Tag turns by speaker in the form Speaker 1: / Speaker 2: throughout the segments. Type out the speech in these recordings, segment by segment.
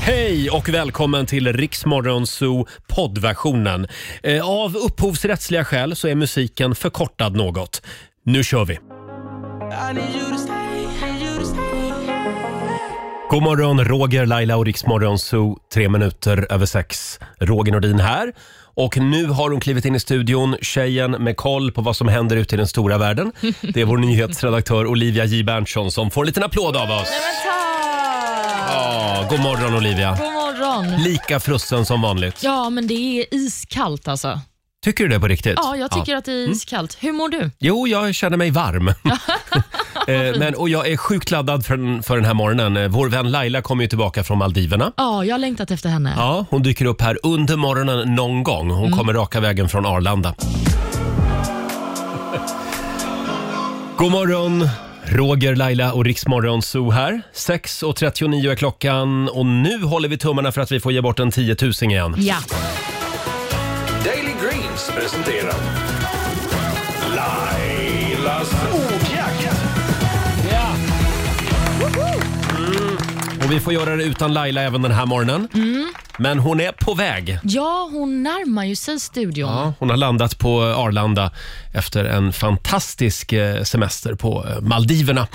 Speaker 1: Hej och välkommen till Riksmorgon Zoo poddversionen. Eh, Av upphovsrättsliga skäl så är musiken förkortad något. Nu kör vi! God morgon, Roger, Laila och Riksmorgon Zoo. Tre minuter över sex. Roger Nordin här. Och nu har hon klivit in i studion, tjejen med koll på vad som händer ute i den stora världen. Det är vår nyhetsredaktör Olivia J Berntsson som får en liten applåd av oss. Ja, god morgon Olivia.
Speaker 2: God morgon.
Speaker 1: Lika frusen som vanligt.
Speaker 2: Ja, men det är iskallt alltså.
Speaker 1: Tycker du det på riktigt?
Speaker 2: Ja, Mm. jag tycker att det är iskallt. Hur mår du?
Speaker 1: Jo, jag känner mig varm. Eh, Men, och jag är sjukt laddad för den, för den här morgonen. Eh, Vår vän Laila kommer ju tillbaka från Maldiverna.
Speaker 2: Ja, Mm. jag har längtat efter henne.
Speaker 1: Ja, hon dyker upp här under morgonen någon gång. Hon kommer raka vägen från Arlanda. God morgon, Roger, Laila och Riksmorgon Zoo här. 6.39 är klockan och nu håller vi tummarna för att vi får ge bort en tiotusing igen.
Speaker 2: Ja.
Speaker 3: Daily Greens presenterar Lailas ordjakt.
Speaker 1: Och vi får göra det utan Laila även den här morgonen. Men hon är på väg.
Speaker 2: ja, hon närmar ju sig studion.
Speaker 1: Ja, hon har landat på Arlanda efter en fantastisk eh, semester på eh, Maldiverna.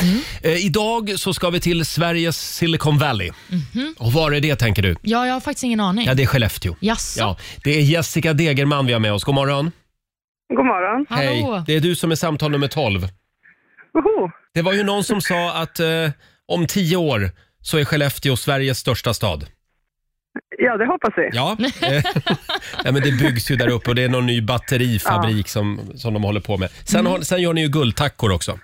Speaker 1: Eh, Idag så ska vi till Sveriges Silicon Valley. Och var är det tänker du?
Speaker 2: Ja, jag har faktiskt ingen aning.
Speaker 1: Mhm. Ja, det är Skellefteå.
Speaker 2: Jaså?
Speaker 1: Ja, det är Jessica Degerman vi har med oss. God morgon.
Speaker 4: God morgon.
Speaker 2: Hallå?
Speaker 1: Det är du som är samtal nummer 12.
Speaker 4: Woho!
Speaker 1: Det var ju någon som sa att eh, om tio år så är Skellefteå Sveriges största stad.
Speaker 4: Ja, det hoppas vi.
Speaker 1: Ja, eh, ja men det byggs ju där uppe och det är någon ny batterifabrik som, som de håller på med. Sen, har, sen gör ni ju guldtackor också.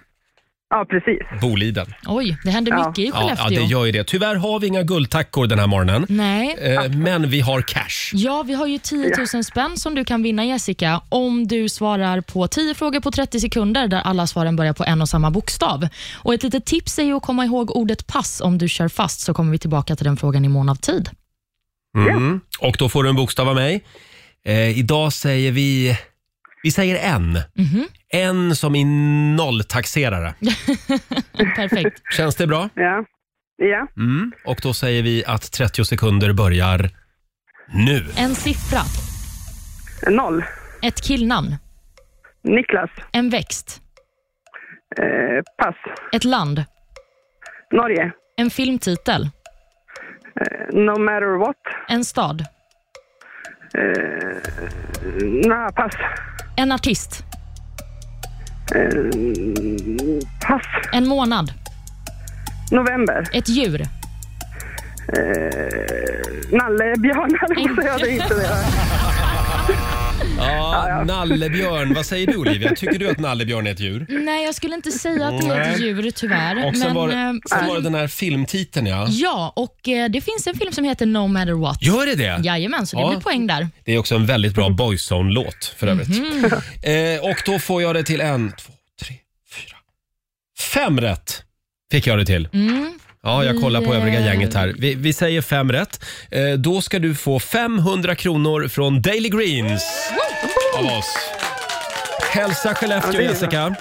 Speaker 4: Ja, precis.
Speaker 1: Boliden.
Speaker 2: Oj, det händer
Speaker 4: Ja.
Speaker 2: mycket i
Speaker 1: Ja, ja, det
Speaker 2: Skellefteå.
Speaker 1: gör ju det. Tyvärr har vi inga guldtackor den här morgonen,
Speaker 2: Nej.
Speaker 1: eh, men vi har cash.
Speaker 2: Ja, vi har ju 10 000 spänn som du kan vinna Jessica om du svarar på 10 frågor på 30 sekunder där alla svaren börjar på en och samma bokstav. Och Ett litet tips är ju att komma ihåg ordet pass om du kör fast så kommer vi tillbaka till den frågan i mån av tid.
Speaker 1: Mm. Och då får du en bokstav av mig. Eh, idag säger vi... Vi säger en. En som i nolltaxerare.
Speaker 2: Perfekt.
Speaker 1: Känns det bra?
Speaker 4: Ja. Ja.
Speaker 1: Mm. Och då säger vi att 30 sekunder börjar nu.
Speaker 2: En siffra,
Speaker 4: Noll.
Speaker 2: ett killnamn,
Speaker 4: Niklas.
Speaker 2: en växt,
Speaker 4: Eh, pass.
Speaker 2: ett land,
Speaker 4: Norge.
Speaker 2: en filmtitel,
Speaker 4: Eh, No matter what.
Speaker 2: en stad,
Speaker 4: Nah, pass. Eh,
Speaker 2: en artist,
Speaker 4: Pass.
Speaker 2: en månad,
Speaker 4: November.
Speaker 2: ett djur,
Speaker 4: Nalle Björn, höll jag på att säga. Det är inte det.
Speaker 1: Ja, nallebjörn. Vad säger du Olivia? Tycker du att nallebjörn är ett djur?
Speaker 2: Nej, jag skulle inte säga att det är ett
Speaker 1: Nej.
Speaker 2: djur tyvärr.
Speaker 1: Och sen, var,
Speaker 2: eh,
Speaker 1: sen var det den här filmtiteln ja.
Speaker 2: Ja, och eh, det finns en film som heter No matter what.
Speaker 1: Gör det det?
Speaker 2: Jajamän, så det
Speaker 1: Ja.
Speaker 2: blir poäng där.
Speaker 1: Det är också en väldigt bra Boyzone-låt för övrigt. Eh, och då får jag det till en, två, tre, fyra, fem rätt. Fick jag det till.
Speaker 2: Mm.
Speaker 1: Ja, jag kollar på
Speaker 2: Yeah.
Speaker 1: övriga gänget här. Vi, vi säger fem rätt. Eh, då ska du få 500 kronor från Daily Greens av oss. Hälsa Skellefteå,
Speaker 4: Ja, det är
Speaker 1: Jessica.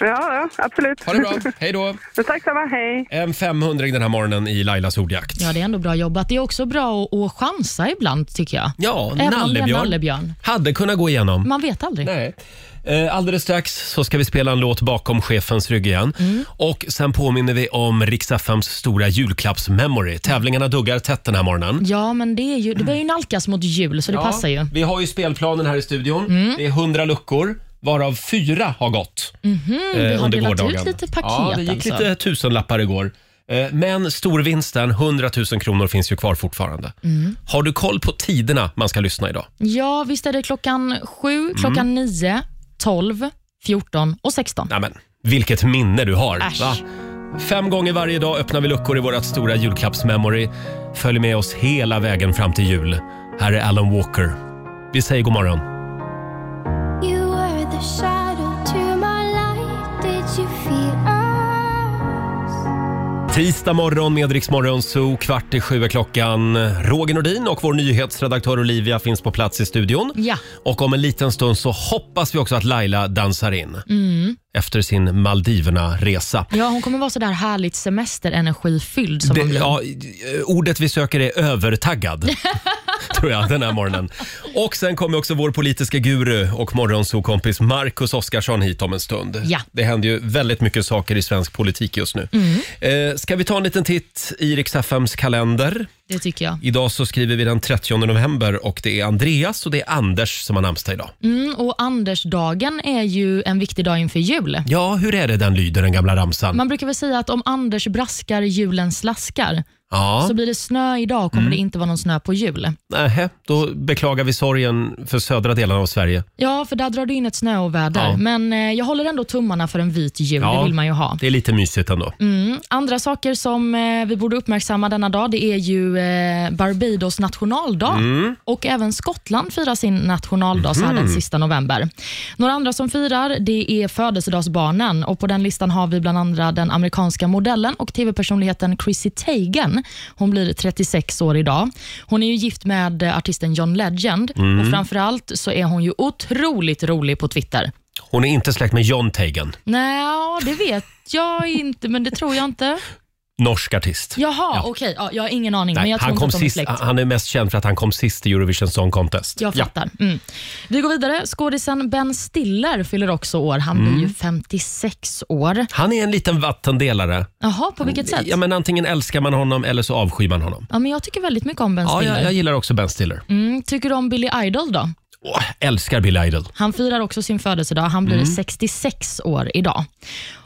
Speaker 4: Ja, ja, absolut.
Speaker 1: Ha det bra. Hej då.
Speaker 4: Men Tack samma. Hej.
Speaker 1: En 500 den här morgonen i Lailas ordjakt.
Speaker 2: Ja, det är ändå bra jobbat. Det är också bra att, att chansa ibland, tycker jag.
Speaker 1: Ja,
Speaker 2: Även om det är
Speaker 1: nallebjörn.
Speaker 2: nallebjörn. Mm.
Speaker 1: Hade kunnat gå igenom.
Speaker 2: Man vet aldrig.
Speaker 1: Nej. Eh, Alldeles strax så ska vi spela en låt bakom chefens rygg igen.
Speaker 2: Mm.
Speaker 1: Och sen påminner vi om Riksaffems stora julklappsmemory. Tävlingarna duggar tätt den här morgonen.
Speaker 2: Ja, men det, är ju, det börjar ju nalkas mot jul, så det passar ju. Mm.
Speaker 1: Vi har ju spelplanen här i studion. Det är 100 luckor, varav fyra har gått eh,
Speaker 2: Mhm, vi har
Speaker 1: under
Speaker 2: delat ut
Speaker 1: gårdagen.
Speaker 2: lite paket
Speaker 1: ja, det gick
Speaker 2: alltså.
Speaker 1: lite tusenlappar igår. Eh, Men storvinsten, 100 000 kronor, finns ju kvar fortfarande.
Speaker 2: Mm.
Speaker 1: Har du koll på tiderna man ska lyssna idag?
Speaker 2: Ja, visst är det klockan sju,
Speaker 1: Mm.
Speaker 2: klockan nio, tolv, fjorton och sexton.
Speaker 1: Nej, men, vilket minne du har!
Speaker 2: Äsch.
Speaker 1: Va? Fem gånger varje dag öppnar vi luckor i vårt stora julklappsmemory. Följ med oss hela vägen fram till jul. Här är Alan Walker. Vi säger god morgon.
Speaker 5: You were the shadow to my light. Did you feel us?
Speaker 1: Tisdag morgon med Rix Morgon Zoo, kvart i sju är klockan. Roger Nordin och vår nyhetsredaktör Olivia finns på plats i studion.
Speaker 2: Ja.
Speaker 1: Och om en liten stund så hoppas vi också att Laila dansar in efter sin Maldiverna-resa.
Speaker 2: Ja, hon kommer vara så där härligt semesterenergifylld som
Speaker 1: Det,
Speaker 2: hon blir.
Speaker 1: ja, eh, ordet vi söker är övertaggad. tror jag, den här morgonen. Och sen kommer också vår politiska guru och morgonsokompis Marcus Oskarsson hit om en stund.
Speaker 2: Ja.
Speaker 1: Det händer ju väldigt mycket saker i svensk politik just nu.
Speaker 2: Mm.
Speaker 1: Eh, ska vi ta en liten titt i Rix FMs kalender?
Speaker 2: Det tycker jag.
Speaker 1: Idag så skriver vi den 30 november och det är Andreas och det är Anders som har namnsdag idag.
Speaker 2: Mm, och Andersdagen är ju en viktig dag inför jul.
Speaker 1: Ja, hur är det den lyder, den gamla ramsan?
Speaker 2: Man brukar väl säga att om Anders braskar, julen slaskar.
Speaker 1: ja. Mm.
Speaker 2: Så blir det snö idag kommer det inte vara någon snö på jul.
Speaker 1: Nähä, då beklagar vi sorgen för södra delen av Sverige.
Speaker 2: Ja, för där drar du in ett snöoväder.
Speaker 1: Ja.
Speaker 2: Men eh, jag håller ändå tummarna för en vit jul.
Speaker 1: Ja.
Speaker 2: Det vill man ju ha.
Speaker 1: Det är lite mysigt ändå.
Speaker 2: Andra saker som eh, vi borde uppmärksamma denna dag det är ju eh, Barbados nationaldag. Och även Skottland firar sin nationaldag så här den sista november. Några andra som firar det är födelsedagsbarnen. Och på den listan har vi bland andra den amerikanska modellen och tv-personligheten Chrissy Teigen. Hon blir 36 år idag. Hon är ju gift med eh, artisten John Legend och framförallt så är hon ju otroligt rolig på Twitter.
Speaker 1: Hon är inte släkt med John Teigen,
Speaker 2: Nej, det vet jag inte, men det tror jag inte.
Speaker 1: norsk artist.
Speaker 2: Jaha, okej. Ja, jag har ingen aning. men
Speaker 1: Nej,
Speaker 2: jag tror
Speaker 1: han,
Speaker 2: inte
Speaker 1: kom
Speaker 2: att de är
Speaker 1: sist,
Speaker 2: släkt.
Speaker 1: han är mest känd för att han kom sist i Eurovision Song Contest.
Speaker 2: Jag fattar. Mm. Vi går vidare. Skådisen Ben Stiller fyller också år. Han blir
Speaker 1: Mm.
Speaker 2: ju 56 år.
Speaker 1: Han är en liten vattendelare.
Speaker 2: Jaha, på vilket sätt?
Speaker 1: Ja, men antingen älskar man honom eller så avskyr man honom.
Speaker 2: Ja, men jag tycker väldigt mycket om Ben
Speaker 1: Ja,
Speaker 2: Stiller.
Speaker 1: jag, jag gillar också Ben Stiller.
Speaker 2: Mm. Tycker du om Billy Idol då?
Speaker 1: Åh, älskar Bill Idol.
Speaker 2: Han firar också sin födelsedag. Han
Speaker 1: Mm.
Speaker 2: blir 66 år idag.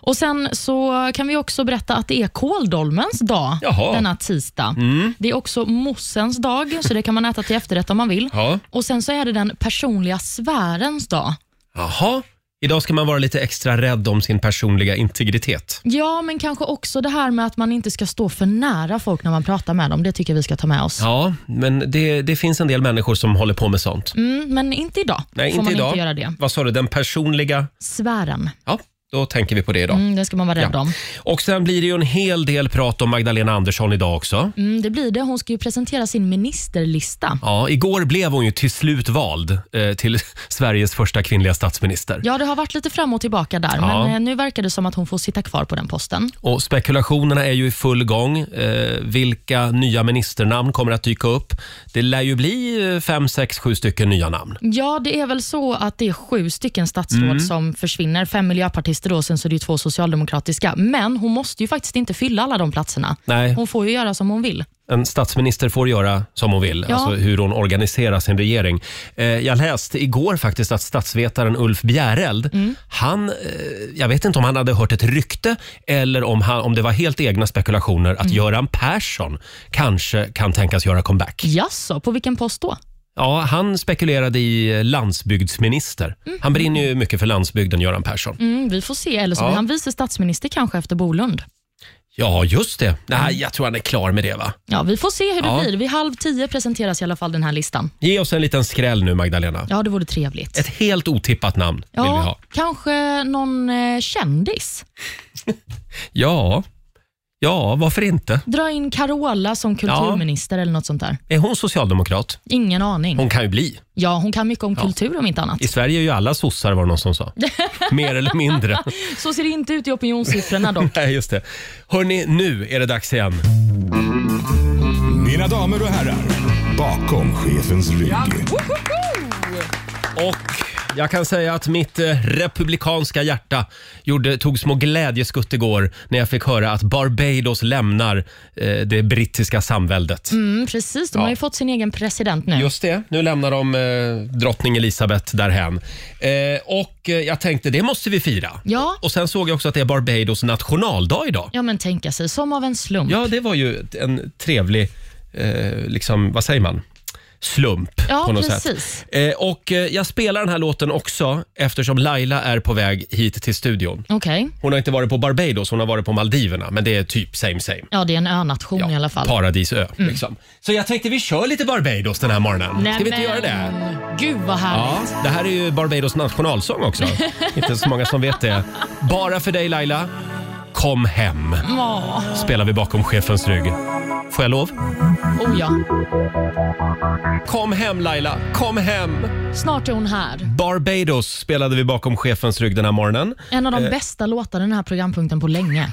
Speaker 2: Och Sen så kan vi också berätta att det är kåldolmens dag
Speaker 1: Jaha. Mm.
Speaker 2: denna tisdag. Det är också mossens dag, så det kan man äta till efterrätt om man vill.
Speaker 1: Ja.
Speaker 2: Och Sen så är det den personliga svärens dag.
Speaker 1: Jaha, idag ska man vara lite extra rädd om sin personliga integritet.
Speaker 2: Ja, men kanske också det här med att man inte ska stå för nära folk när man pratar med dem. Det tycker jag vi ska ta med oss.
Speaker 1: Ja, men det, det finns en del människor som håller på med sånt.
Speaker 2: Mm, men inte idag
Speaker 1: Nej,
Speaker 2: får
Speaker 1: inte
Speaker 2: man
Speaker 1: idag.
Speaker 2: inte göra det.
Speaker 1: Vad sa du, den personliga?
Speaker 2: Svären,
Speaker 1: Ja, då tänker vi på det idag.
Speaker 2: mm, den ska man vara rädd
Speaker 1: Ja.
Speaker 2: om.
Speaker 1: Och sen blir det ju en hel del prat om Magdalena Andersson idag också.
Speaker 2: Mm, det blir det. Hon ska ju presentera sin ministerlista.
Speaker 1: Ja, igår blev hon ju till slut vald eh, till Sveriges första kvinnliga statsminister.
Speaker 2: Ja, det har varit lite fram och tillbaka där,
Speaker 1: Ja.
Speaker 2: men eh, nu verkar det som att hon får sitta kvar på den posten.
Speaker 1: Och spekulationerna är ju i full gång. Eh, vilka nya ministernamn kommer att dyka upp? Det lär ju bli eh, fem, sex, sju stycken nya namn.
Speaker 2: Ja, det är väl så att det är sju stycken statsråd
Speaker 1: Mm.
Speaker 2: som försvinner. Fem miljöpartister då, sen så är det ju två socialdemokratiska. Men hon måste ju faktiskt inte fylla alla de platserna.
Speaker 1: Nej,
Speaker 2: Hon får ju göra som hon vill.
Speaker 1: en statsminister får göra som hon vill,
Speaker 2: Ja.
Speaker 1: alltså hur hon organiserar sin regering. Eh, jag läste igår faktiskt att statsvetaren Ulf Bjäreld,
Speaker 2: Mm.
Speaker 1: han, eh, jag vet inte om han hade hört ett rykte eller om, han, om det var helt egna spekulationer att
Speaker 2: Mm.
Speaker 1: Göran Persson kanske kan tänkas göra comeback.
Speaker 2: Jaså, på vilken post då?
Speaker 1: Ja, han spekulerade i landsbygdsminister. Han brinner ju mycket för landsbygden, Göran Persson.
Speaker 2: Mm, vi får se. Eller så
Speaker 1: Ja.
Speaker 2: blir han vice statsminister kanske efter Bolund.
Speaker 1: Ja, just det.
Speaker 2: Mm.
Speaker 1: Nej, jag tror han är klar med det, va?
Speaker 2: Ja, vi får se hur det
Speaker 1: Ja.
Speaker 2: blir. Vid halv tio presenteras i alla fall den här listan.
Speaker 1: Ge oss en liten skräll nu, Magdalena.
Speaker 2: Ja, det vore trevligt.
Speaker 1: Ett helt otippat namn vill vi
Speaker 2: ja,
Speaker 1: ha.
Speaker 2: kanske någon eh, kändis.
Speaker 1: Ja. ja, varför inte?
Speaker 2: Dra in Carola som kulturminister eller något sånt där.
Speaker 1: Är hon socialdemokrat?
Speaker 2: Ingen aning.
Speaker 1: Hon kan ju bli.
Speaker 2: Ja, hon kan mycket om kultur om inte annat.
Speaker 1: I Sverige är ju alla sossar, var det någon som sa. Mer eller mindre.
Speaker 2: Så ser det inte ut i opinionssiffrorna Mm, dock.
Speaker 1: Nej, just det. Hörni, nu är det dags igen.
Speaker 6: Mina damer och herrar, bakom chefens rygg.
Speaker 1: Och jag kan säga att mitt eh, republikanska hjärta gjorde, tog små glädjeskutt igår när jag fick höra att Barbados lämnar eh, det brittiska samväldet.
Speaker 2: Mm, precis, de har ju fått sin egen president nu.
Speaker 1: Just det, nu lämnar de eh, drottning Elizabeth därhän. Eh, och eh, jag tänkte, det måste vi fira.
Speaker 2: Ja.
Speaker 1: Och sen såg jag också att det är Barbados nationaldag idag.
Speaker 2: Ja, men tänka sig, som av en slump.
Speaker 1: Ja, det var ju en trevlig, eh, liksom, vad säger man? Slump
Speaker 2: Ja,
Speaker 1: på något
Speaker 2: precis.
Speaker 1: sätt. Eh, och eh, jag spelar den här låten också eftersom Laila är på väg hit till studion.
Speaker 2: Okej.
Speaker 1: Hon har inte varit på Barbados, hon har varit på Maldiverna, men det är typ same same.
Speaker 2: Ja, det är en önation i alla fall. Mm.
Speaker 1: Paradisö. Liksom. Så jag tänkte vi kör lite Barbados den här morgonen. Ska vi inte
Speaker 2: Nämen.
Speaker 1: göra det?
Speaker 2: Gud vad härligt.
Speaker 1: Ja, det här är ju Barbados nationalsång också. inte så många som vet det. Bara för dig Laila. Kom hem
Speaker 2: Ja,
Speaker 1: spelar vi bakom chefens rygg. Får jag lov?
Speaker 2: oh ja.
Speaker 1: Kom hem Laila, kom hem!
Speaker 2: Snart är hon här.
Speaker 1: Barbados spelade vi bakom chefens rygg den här morgonen.
Speaker 2: En av de bästa låtarna i den här programpunkten på länge.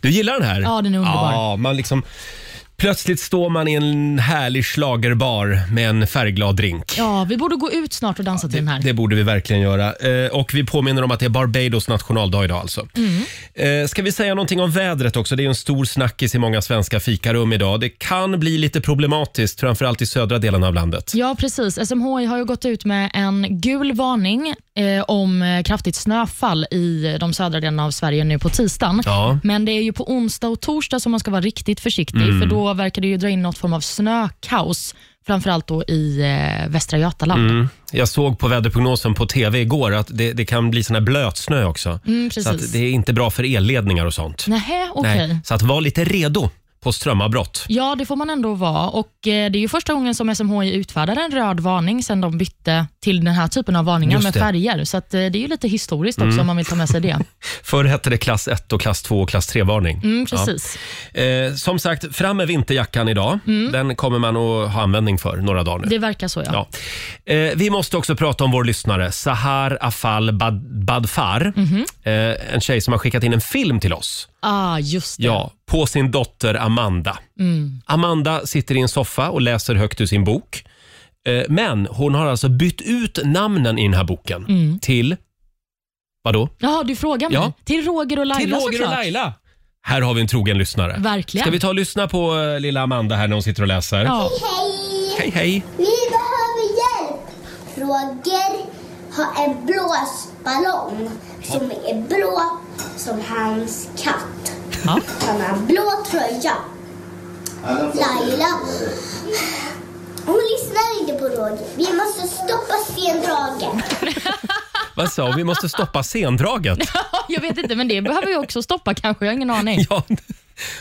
Speaker 1: Du gillar den här?
Speaker 2: Ja, den är underbar.
Speaker 1: Ja, man liksom, plötsligt står man i en härlig schlagerbar med en färgglad drink.
Speaker 2: Ja, vi borde gå ut snart och dansa till den här.
Speaker 1: Det borde vi verkligen göra. Eh, och vi påminner om att det är Barbados nationaldag idag alltså.
Speaker 2: Mm.
Speaker 1: Eh, ska vi säga någonting om vädret också? Det är ju en stor snackis i många svenska fikarum idag. Det kan bli lite problematiskt, framförallt i södra delen av landet.
Speaker 2: Ja, precis. SMHI har ju gått ut med en gul varning eh, om eh, kraftigt snöfall i de södra delarna av Sverige nu på tisdagen.
Speaker 1: Ja.
Speaker 2: Men det är ju på onsdag och torsdag som man ska vara riktigt försiktig, för
Speaker 1: Mm.
Speaker 2: då verkar det ju dra in något form av snökaos, framförallt då i eh, Västra Götaland.
Speaker 1: Jag såg på väderprognosen på TV igår att det, det kan bli sån här blötsnö också.
Speaker 2: Mm,
Speaker 1: så
Speaker 2: precis.
Speaker 1: att det är inte bra för elledningar och sånt.
Speaker 2: Nähä, okej.
Speaker 1: Nej, Så att var lite redo på strömavbrott.
Speaker 2: Ja, det får man ändå vara. Och eh, Det är ju första gången som SMHI utfärdar en röd varning sen de bytte till den här typen av varningar
Speaker 1: Just
Speaker 2: med
Speaker 1: det. Mm.
Speaker 2: färger. Så att, eh, det är ju lite historiskt också om man vill ta med sig det.
Speaker 1: Förr hette det klass 1 och klass 2 och klass 3-varning.
Speaker 2: Mm, precis.
Speaker 1: Eh, som sagt, fram med vinterjackan idag. Den kommer man att ha användning för några dagar nu.
Speaker 2: Det verkar så, ja.
Speaker 1: Ja. Eh, vi måste också prata om vår lyssnare Sahar Afal Bad- Badfar. eh, en tjej som har skickat in en film till oss.
Speaker 2: Ah, just det.
Speaker 1: Ja, på sin dotter Amanda. Amanda sitter i en soffa och läser högt ur sin bok. Eh, men hon har alltså bytt ut namnen i den här boken till... Vadå?
Speaker 2: Jaha, du frågar mig?
Speaker 1: Ja.
Speaker 2: Till Roger och Laila
Speaker 1: till Roger och
Speaker 2: såklart.
Speaker 1: Laila. Här har vi en trogen lyssnare.
Speaker 2: Verkligen.
Speaker 1: Ska vi ta och lyssna på eh, lilla Amanda här när hon sitter och läser?
Speaker 2: Ja.
Speaker 7: Hej!
Speaker 1: Hej, hej.
Speaker 7: Vi behöver hjälp! Roger har en blåsballong som är blå som hans katt.
Speaker 2: Ja.
Speaker 7: Han har en blå tröja. Laila, hon lyssnar inte på Roger. Vi måste stoppa stendragen.
Speaker 1: Vad sa hon? Vi måste stoppa sendraget.
Speaker 2: Jag vet inte, men det behöver vi också stoppa kanske. Jag har ingen aning.
Speaker 1: Ja.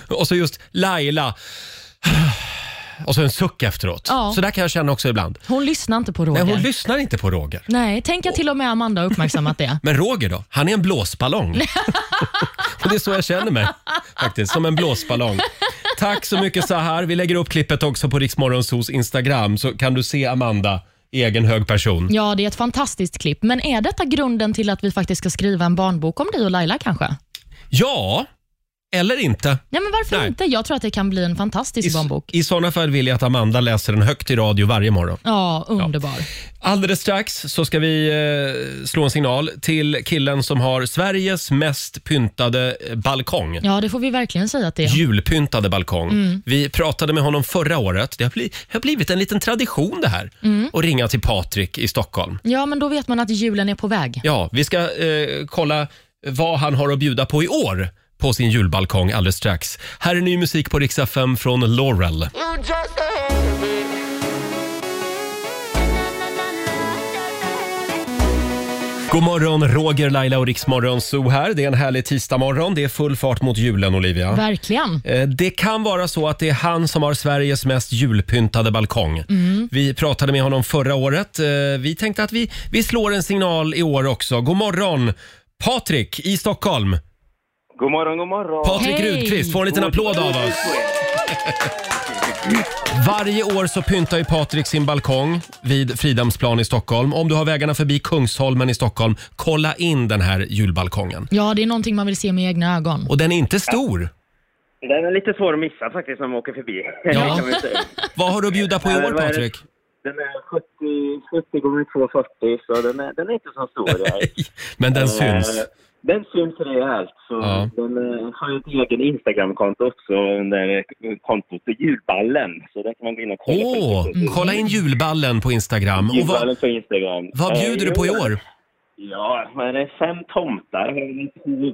Speaker 1: Och så just Laila. Och så en suck efteråt.
Speaker 2: Ja.
Speaker 1: Så där kan jag känna också ibland.
Speaker 2: Hon lyssnar inte på Roger.
Speaker 1: Men hon lyssnar inte på Roger.
Speaker 2: Nej, tänk att till och med Amanda har uppmärksammat det.
Speaker 1: Men Roger då? Han är en blåsballong. och det är så jag känner mig faktiskt, som en blåsballong. Tack så mycket Sahar. Vi lägger upp klippet också på Riksmorgonsos Instagram så kan du se Amanda i egen hög person.
Speaker 2: Ja, det är ett fantastiskt klipp. Men är detta grunden till att vi faktiskt ska skriva en barnbok om dig och Laila kanske?
Speaker 1: Ja, eller inte.
Speaker 2: Nej, men varför
Speaker 1: Nej.
Speaker 2: inte? Jag tror att det kan bli en fantastisk
Speaker 1: I,
Speaker 2: barnbok.
Speaker 1: I sådana fall vill jag att Amanda läser den högt i radio varje morgon.
Speaker 2: Ja, underbar.
Speaker 1: Alldeles strax så ska vi eh, slå en signal till killen som har Sveriges mest pyntade eh, balkong.
Speaker 2: Ja, Mm. det får vi verkligen säga att det är.
Speaker 1: julpyntade balkong. Vi pratade med honom förra året. Det har blivit, har blivit en liten tradition det här.
Speaker 2: Mm.
Speaker 1: Att ringa till Patrik i Stockholm.
Speaker 2: Ja, men då vet man att julen är på väg.
Speaker 1: Ja, vi ska eh, kolla vad han har att bjuda på i år på sin julbalkong alldeles strax. Här är ny musik på Rix FM från Laurel. God morgon, Roger, Laila och Riksmorgon Zoo här. Det är en härlig tisdagmorgon. Det är full fart mot julen, Olivia.
Speaker 2: Verkligen.
Speaker 1: Eh, Det kan vara så att det är han som har Sveriges mest julpyntade balkong. Vi pratade med honom förra året. Eh, Vi tänkte att vi, vi slår en signal i år också. God morgon Patrik i Stockholm.
Speaker 8: God morgon, god morgon.
Speaker 1: Patrik
Speaker 2: Hej.
Speaker 1: Rudqvist får en liten applåd av oss. Varje år så pyntar ju Patrik sin balkong vid Fridhemsplan i Stockholm. Om du har vägarna förbi Kungsholmen i Stockholm, kolla in den här julbalkongen.
Speaker 2: Ja, det är någonting man vill se med egna ögon.
Speaker 1: Och den är inte stor.
Speaker 8: Den är lite svår att missa faktiskt när man åker förbi.
Speaker 1: Ja.
Speaker 8: Kan vi säga.
Speaker 1: Vad har du att bjuda på i
Speaker 8: Nej,
Speaker 1: år
Speaker 8: vad är det?
Speaker 1: Patrik?
Speaker 8: Den är 70, 70 gånger 240 så den är, den är inte så stor. Nej.
Speaker 1: Men den syns.
Speaker 8: Eh, Den syns rejält. Så
Speaker 1: Ja.
Speaker 8: Den eh, har ju ett egen Instagramkonto också under kontot för julballen. Så där kan man gå in och kolla. på
Speaker 1: Åh,
Speaker 8: lite.
Speaker 1: kolla in julballen på Instagram. Och
Speaker 8: Julballen
Speaker 1: vad,
Speaker 8: på Instagram.
Speaker 1: vad
Speaker 8: Eh,
Speaker 1: bjuder du på i år?
Speaker 8: Ja, men det är fem tomtar.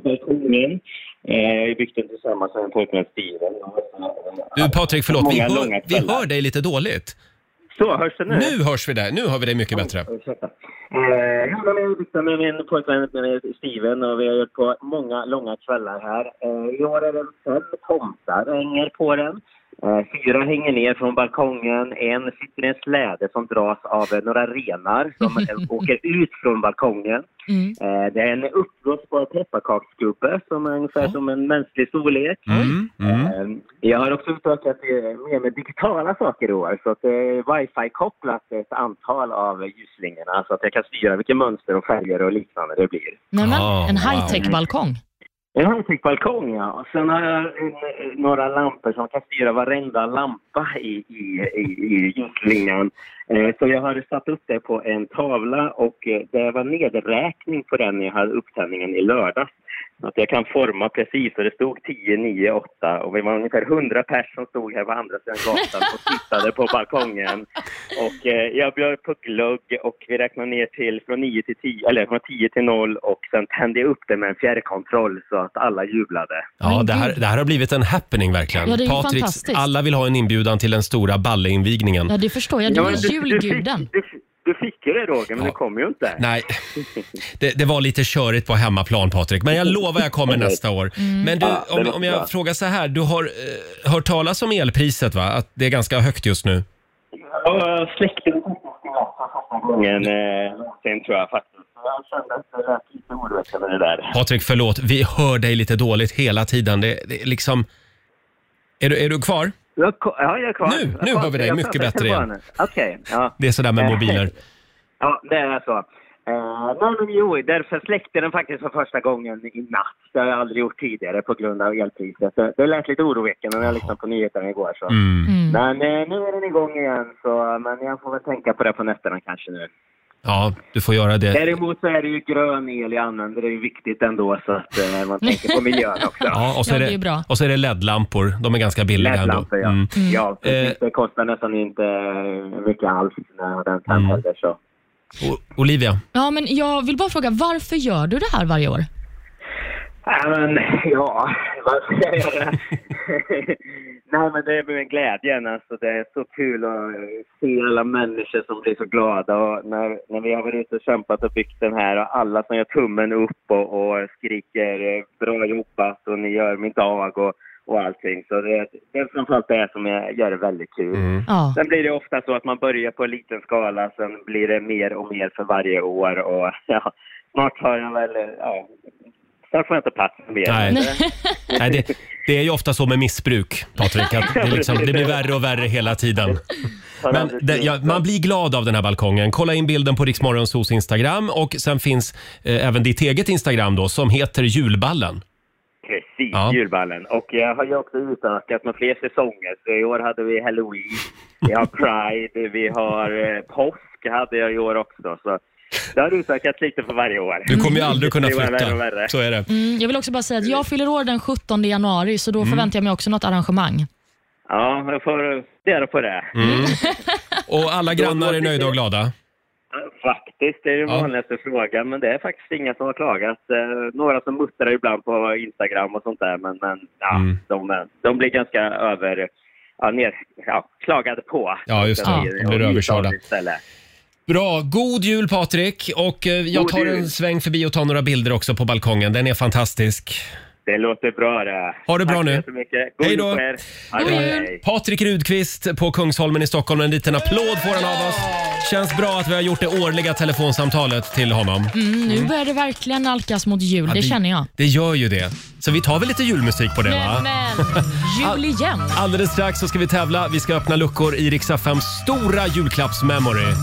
Speaker 8: Balkongen. Eh, Jag har byggt den tillsammans med en pojkvän Steven.
Speaker 1: Du Patrik, förlåt. Vi
Speaker 8: Eh, Många långa
Speaker 1: hör, vi
Speaker 8: kvällar.
Speaker 1: hör dig lite dåligt.
Speaker 8: Så, hörs det nu?
Speaker 1: Nu hörs vi dig. Nu hör vi dig mycket bättre.
Speaker 8: Ursäkta. Eh, ja, men jag har bytt med min pojkvän med Steven och vi har gjort på många långa kvällar här. Eh, I år är det fem tomtar hänger på den. Eh, Fyra hänger ner från balkongen, en sitter i en släde som dras av eh, några renar som eh, åker ut från balkongen.
Speaker 2: Mm.
Speaker 8: Eh, Det är en uppblåsbar pepparkaksgubbe som är ungefär som en mänsklig storlek.
Speaker 1: Mm, mm.
Speaker 8: Eh, Jag har också utökat det mer med digitala saker i år, så att eh, det är wifi-kopplat ett antal av ljusslingorna så att jag kan styra vilka mönster och färger och liknande det blir.
Speaker 2: Nej, men,
Speaker 1: Ah,
Speaker 2: en
Speaker 1: wow.
Speaker 2: high-tech-balkong.
Speaker 8: En high-tech-balkong, ja. Och sen har jag eh, några lampor som kan styra varenda lampa i, i, i, i ljusslingan. Eh, så jag har satt upp det på en tavla och eh, det var nedräkning på den när jag hade upptändningen i lördags. Så att jag kan forma precis och det stod 10, 9, 8 och vi var ungefär 100 personer som stod här på andra sidan gatan och tittade på balkongen. Och eh, jag bjöd på glögg och vi räknade ner till från 9 till 10, eller från 10 till 0 och sen tände jag upp det med en fjärrkontroll så att alla jublade.
Speaker 1: Ja, det här, det här har blivit en happening verkligen.
Speaker 2: Ja, det är ju
Speaker 1: Patrick,
Speaker 2: fantastiskt.
Speaker 1: alla vill ha en inbjudan till den stora balleinvigningen.
Speaker 2: Ja, det förstår jag. Du
Speaker 8: men
Speaker 2: är julguden.
Speaker 8: fick, du, du fick ju det Roger, men
Speaker 1: Ja.
Speaker 8: du kom ju inte.
Speaker 1: Nej, det, det var lite körigt på hemmaplan Patrik, men jag lovar jag kommer nästa år.
Speaker 2: Mm.
Speaker 1: Men du,
Speaker 8: Ja, det
Speaker 1: om,
Speaker 8: låter
Speaker 1: om jag
Speaker 8: bra.
Speaker 1: frågar så här, du har eh, hört talas om elpriset va? Att det är ganska högt just nu?
Speaker 8: Ja, släkten gången eh, sen tror jag faktiskt. Så Jag kände att det lät lite oroväckande det där.
Speaker 1: Patrik, förlåt, vi hör dig lite dåligt hela tiden. Det, det är liksom... Är du, är du kvar?
Speaker 8: Jag, ko- ja, jag är kvar.
Speaker 1: Nu- nu
Speaker 8: Jag
Speaker 1: hör vi dig
Speaker 8: jag
Speaker 1: mycket
Speaker 8: pratar i
Speaker 1: bättre igen.
Speaker 8: telefonen. Okej, ja.
Speaker 1: Det är sådär med
Speaker 8: Eh,
Speaker 1: mobiler.
Speaker 8: Ja, det är så. Eh, nej, men jo, därför släckte den faktiskt för första gången i natt. Det har jag aldrig gjort tidigare på grund av elpriset. Det, det lät lite oroväckande när jag lyssnade på nyheterna igår. Så.
Speaker 1: Mm.
Speaker 8: Men eh, nu är den igång igen, så, men jag får väl tänka på det på nätterna kanske nu.
Speaker 1: Ja, du får göra det.
Speaker 8: Däremot så är det ju grön el jag använder, det är ju viktigt ändå så att eh, man tänker på miljön också.
Speaker 1: Ja, och så
Speaker 2: Ja,
Speaker 1: är
Speaker 2: det är
Speaker 1: det,
Speaker 2: bra.
Speaker 1: och så är det LED-lampor. De är ganska billiga ändå.
Speaker 8: LED-lampor, ja.
Speaker 1: Mm.
Speaker 8: ja precis.
Speaker 1: Eh.
Speaker 8: det kostar nästan inte mycket alls när den tänd
Speaker 1: mm.
Speaker 8: heller. Så.
Speaker 1: O- Olivia?
Speaker 2: Ja, men jag vill bara fråga, varför gör du det här varje år?
Speaker 8: Nej, men ja, vad ska jag göra? Nej, men det är väl en glädjen. Alltså, det är så kul att se alla människor som blir så glada. Och när, när vi har varit ute och kämpat och byggt den här och alla som gör tummen upp och, och skriker eh, bra jobbat och ni gör min dag och, och allting. Så det, det är framförallt det som jag gör det väldigt kul.
Speaker 1: Mm.
Speaker 2: Ja.
Speaker 8: Sen blir det ofta så att man börjar på en liten skala, sen blir det mer och mer för varje år och ja, snart har jag väl, ja, snart får jag inte plats mer. eh,
Speaker 1: Nej. Nej, det, det är ju ofta så med missbruk, Patrik. Att det, liksom, det blir värre och värre hela tiden. Men det, ja, man blir glad av den här balkongen. Kolla in bilden på Riksmorgonsos Instagram och sen finns eh, även ditt eget Instagram då som heter julballen.
Speaker 8: Precis,
Speaker 1: Ja.
Speaker 8: julballen. Och jag har ju också utökat med fler säsonger, så i år hade vi halloween, vi har pride, vi har eh, påsk hade jag i år också. Så det har utökat lite för varje år.
Speaker 1: Du kommer ju aldrig kunna
Speaker 8: Mm. Det var
Speaker 1: flytta.
Speaker 8: värre och värre.
Speaker 1: Så är det.
Speaker 2: Mm, jag vill också bara säga att jag fyller år den 17 januari, så då
Speaker 1: Mm.
Speaker 2: förväntar jag mig också något arrangemang.
Speaker 8: Ja, jag får fundera på
Speaker 1: Mm.
Speaker 8: det.
Speaker 1: Och alla grannar är nöjda och glada.
Speaker 8: Faktiskt, det är den
Speaker 1: Ja.
Speaker 8: vanligaste frågan. Men det är faktiskt inga som har klagat. Eh, några som muttrar ibland på Instagram och sånt där. Men, men ja,
Speaker 1: Mm.
Speaker 8: de, är- de blir ganska över... Ja, ner, ja, klagade på.
Speaker 1: Ja, just det.
Speaker 8: Så
Speaker 1: Ja, de
Speaker 8: och
Speaker 1: blir
Speaker 8: vidtagna
Speaker 1: överkörda.
Speaker 8: istället.
Speaker 1: Bra, god jul Patrik! Och eh, jag
Speaker 8: God
Speaker 1: tar
Speaker 8: jul.
Speaker 1: en sväng förbi och tar några bilder också på balkongen. Den är fantastisk.
Speaker 8: Det låter bra det.
Speaker 1: Ha det bra
Speaker 8: Tack
Speaker 1: nu.
Speaker 8: så mycket. God
Speaker 1: Hej
Speaker 8: jul
Speaker 1: då.
Speaker 8: på er. Ha det
Speaker 2: God
Speaker 8: bra,
Speaker 2: jul.
Speaker 8: hej.
Speaker 1: Patrik Rudqvist på Kungsholmen i Stockholm. En liten applåd får han av oss. Känns bra att vi har gjort det årliga telefonsamtalet till honom.
Speaker 2: Mm, nu börjar det verkligen nalkas mot jul, det känner jag.
Speaker 1: Det gör ju det. Så vi tar väl lite julmusik på det va?
Speaker 2: Men, men, jul igen.
Speaker 1: Alldeles strax så ska vi tävla. Vi ska öppna luckor i Rix FMs stora julklappsmemory.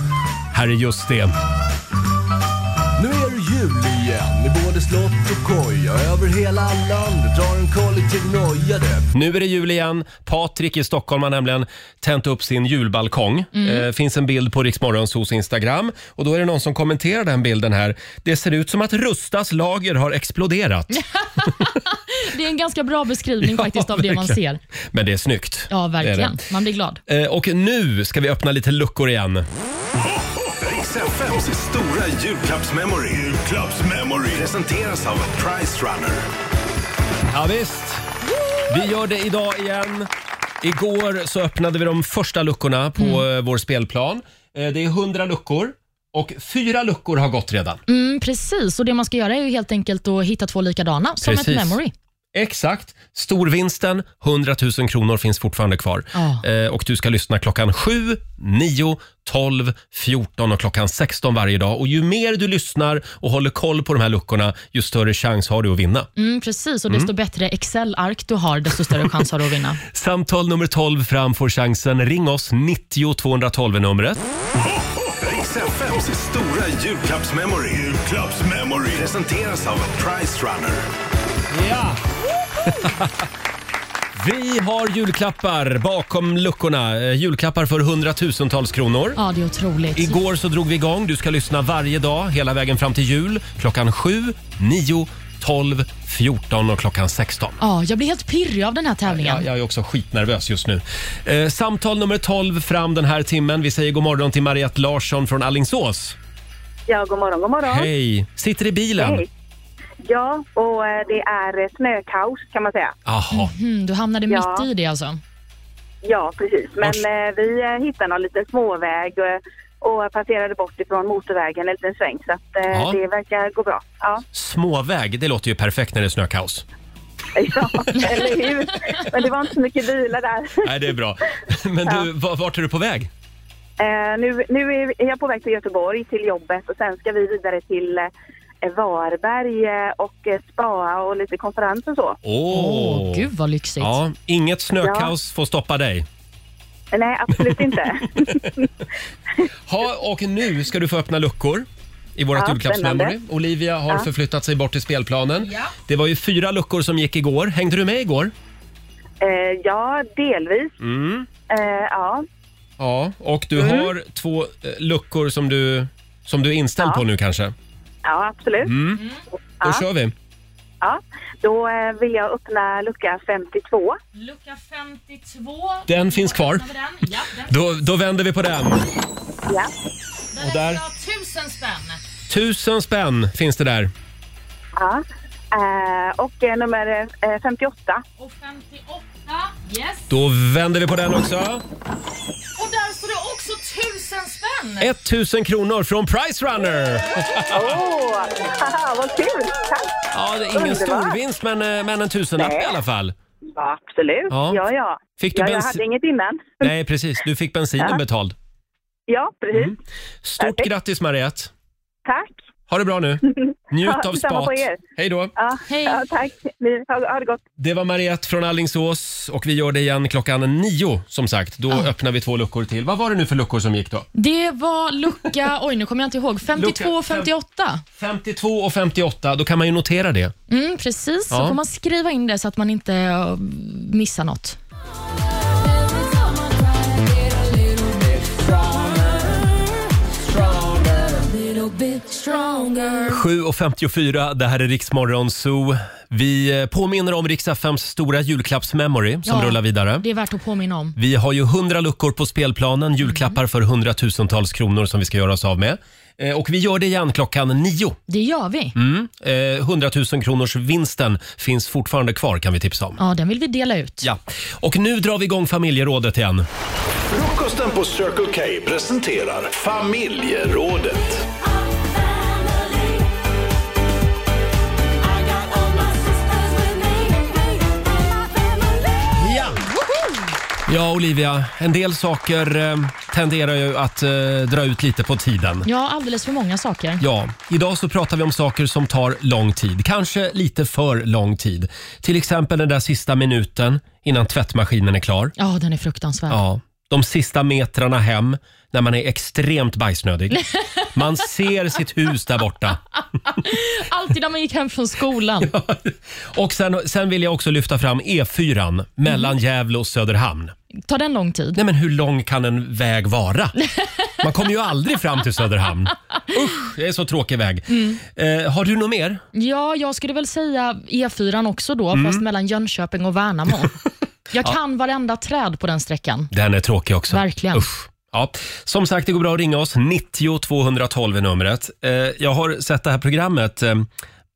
Speaker 1: Här är just det.
Speaker 9: Nu är det jul igen i både slott och koja. Över hela landet drar en kollektiv noja det.
Speaker 1: Nu är det jul igen. Patrik i Stockholm har nämligen tänt upp sin julbalkong.
Speaker 2: Mm.
Speaker 1: Eh, finns en bild på Riksmorgonsos Instagram. Och då är det någon som kommenterar den bilden här. Det ser ut som att Rustas lager har exploderat.
Speaker 2: Det är en ganska bra beskrivning faktiskt av det man
Speaker 1: verkligen.
Speaker 2: ser.
Speaker 1: Men det är snyggt.
Speaker 2: Ja,
Speaker 1: Det är det.
Speaker 2: verkligen. Man blir glad.
Speaker 1: Eh, Och nu ska vi öppna lite luckor igen.
Speaker 6: Riks FMs stora julklappsmemory. Julklappsmemory. Presenteras av Price Runner.
Speaker 1: Ja, visst. Vi gör det idag igen. Igår så öppnade vi de första luckorna på
Speaker 2: Mm.
Speaker 1: eh, vår spelplan. Eh, Det är 100 luckor och fyra luckor har gått redan.
Speaker 2: Mm, precis, och det man ska göra är ju helt enkelt att hitta två likadana som ett
Speaker 1: Precis.
Speaker 2: memory.
Speaker 1: Exakt. Storvinsten, 100 000 kronor, finns fortfarande kvar.
Speaker 2: Ja.
Speaker 1: Eh, och Du ska lyssna klockan 7, 9, 12, 14 och klockan 16 varje dag. Och Ju mer du lyssnar och håller koll på de här luckorna, ju större chans har du att vinna.
Speaker 2: Mm, precis, och desto bättre Excel-ark du har, desto större chans har du att vinna.
Speaker 1: Samtal nummer 12 fram får chansen. Ring oss, 90 212 är numret.
Speaker 6: Riks FMs stora julklappsmemory. Julklappsmemory. Presenteras av Price Runner.
Speaker 1: Ja! Vi har julklappar bakom luckorna. Eh, Julklappar för hundratusentals kronor.
Speaker 2: Ja, det är otroligt.
Speaker 1: Igår så drog vi igång. Du ska lyssna varje dag hela vägen fram till jul. Klockan 7, 9, 12, 14 och klockan 16.
Speaker 2: Ja, jag blir helt pirrig av den här tävlingen.
Speaker 1: Jag, jag är också skitnervös just nu. Eh, samtal nummer 12 fram den här timmen. Vi säger god morgon till Mariette Larsson från Allingsås.
Speaker 10: Ja, god morgon, god morgon.
Speaker 1: Hej! Sitter i bilen.
Speaker 10: Hej. Ja, och eh, det är eh, snökaos kan man säga.
Speaker 1: Jaha.
Speaker 2: Mhm, du hamnade
Speaker 10: Ja.
Speaker 2: mitt i det alltså.
Speaker 10: Ja, precis. Men
Speaker 1: Ars-
Speaker 10: eh, vi eh, hittade någon liten småväg eh, och passerade bort ifrån motorvägen en liten sväng så att eh,
Speaker 1: Ja.
Speaker 10: det verkar gå bra. Ja,
Speaker 1: Småväg, det låter ju perfekt när det är snökaos.
Speaker 10: ja eller hur? Men det var inte så mycket bilar där.
Speaker 1: Nej, det är bra. Men du, va- vart är du på väg?
Speaker 10: Eh, nu, nu är vi- är jag på väg till Göteborg till jobbet och sen ska vi vidare till eh, Varberg eh, och eh, spa och lite konferens och så.
Speaker 1: Åh!
Speaker 2: Åh, gud vad lyxigt.
Speaker 1: Ja, inget snökaos får stoppa dig.
Speaker 10: Eh, Nej, absolut inte.
Speaker 1: Ha, och nu ska du få öppna luckor i vårt
Speaker 10: Ja,
Speaker 1: julklappsmemory.
Speaker 10: spännande.
Speaker 1: Olivia har förflyttat sig bort till spelplanen. Det var ju fyra luckor som gick igår. Hängde du med igår?
Speaker 10: Eh, ja, delvis.
Speaker 1: Mm.
Speaker 10: Eh, ja.
Speaker 1: Ja, och du har två eh, luckor som du, som du är inställd på nu kanske. Då
Speaker 10: ja, absolut.
Speaker 1: Mm. kör vi.
Speaker 10: Ja. Då eh, vill jag öppna lucka 52.
Speaker 2: Lucka 52.
Speaker 1: Den finns kvar.
Speaker 2: Ja,
Speaker 1: Då, då vänder vi på den.
Speaker 10: Ja.
Speaker 1: Och där,
Speaker 2: tusen spänn.
Speaker 1: tusen spänn finns det där.
Speaker 10: Ja. Eh, och eh, nummer eh, 58.
Speaker 2: Och 58. Yes.
Speaker 1: Då vänder vi på den också.
Speaker 2: Och där står det också tusen spänn.
Speaker 1: 1000 kronor från Price Runner.
Speaker 10: Åh, haha, vad kul! Tack!
Speaker 1: Ja, det är ingen
Speaker 10: Underbart.
Speaker 1: storvinst, men, eh, men en tusenlapp i
Speaker 10: Nej.
Speaker 1: alla fall.
Speaker 10: Ja, absolut.
Speaker 1: Ja.
Speaker 10: Ja, ja.
Speaker 1: Fick du
Speaker 10: ja, jag
Speaker 1: bens-
Speaker 10: hade inget innan.
Speaker 1: Nej, precis. Du fick bensinen
Speaker 10: Ja.
Speaker 1: betald.
Speaker 10: Ja, precis.
Speaker 1: Mm. Stort
Speaker 10: Perfekt.
Speaker 1: grattis Mariette.
Speaker 10: Tack!
Speaker 1: Ha det bra nu. Njut
Speaker 10: Ja,
Speaker 1: av
Speaker 10: detsamma
Speaker 1: spat.
Speaker 10: på er.
Speaker 1: Hej då.
Speaker 10: Ja,
Speaker 2: Hej.
Speaker 10: ja, tack. Ni, ha, ha det gott.
Speaker 1: Det var Mariette från Allingsås och vi gör det igen klockan nio som sagt. Då öppnar vi två luckor till. Vad var det nu för luckor som gick då?
Speaker 2: Det var lucka, oj nu kommer jag inte ihåg, 52 och
Speaker 1: Lucka fem-
Speaker 2: 58.
Speaker 1: 52 och 58, då kan man ju notera det.
Speaker 2: Mm, precis, så
Speaker 1: Ja.
Speaker 2: får man skriva in det så att man inte eh, missar något.
Speaker 11: Stronger.
Speaker 1: 7.54, det här är Riksmorgon Zoo. Vi eh, påminner om Rix FMs stora julklappsmemory som
Speaker 2: Ja.
Speaker 1: rullar vidare.
Speaker 2: Det är värt att påminna om.
Speaker 1: Vi har ju hundra luckor på spelplanen,
Speaker 10: Mm.
Speaker 1: julklappar för hundratusentals kronor som vi ska göra oss av med. Eh, Och vi gör det igen klockan nio.
Speaker 2: Det gör vi.
Speaker 1: Mm. Eh, 100 000 kronors vinsten finns fortfarande kvar kan vi tipsa om.
Speaker 2: Ja, den vill vi dela ut.
Speaker 1: Ja, och nu drar vi igång familjerådet igen.
Speaker 12: Frukosten på Circle K presenterar Familjerådet.
Speaker 1: Ja! Ja, Olivia, en del saker eh, tenderar ju att eh, dra ut lite på tiden.
Speaker 2: Ja, alldeles för många saker.
Speaker 1: Ja, idag så pratar vi om saker som tar lång tid. Kanske lite för lång tid. Till exempel den där sista minuten innan tvättmaskinen är klar.
Speaker 2: Ja, den är fruktansvärd.
Speaker 1: Ja, de sista metrarna hem när man är extremt bajsnödig. Man ser sitt hus där borta.
Speaker 2: Alltid när man gick hem från skolan.
Speaker 1: Och sen, sen vill jag också lyfta fram E4 mellan Gävle och Söderhamn.
Speaker 2: Tar den lång tid?
Speaker 1: Nej men hur lång kan en väg vara? Man kommer ju aldrig fram till Söderhamn. Usch, det är så tråkig väg. Eh, har du något mer?
Speaker 2: Ja, jag skulle väl säga E4 också då,
Speaker 1: Mm.
Speaker 2: fast mellan Jönköping och Värnamo. Jag kan varenda träd på den sträckan.
Speaker 1: Den är tråkig också.
Speaker 2: Verkligen.
Speaker 1: Usch. Ja, som sagt, det går bra att ringa oss. 90 212 är numret. Eh, jag har sett det här programmet, eh,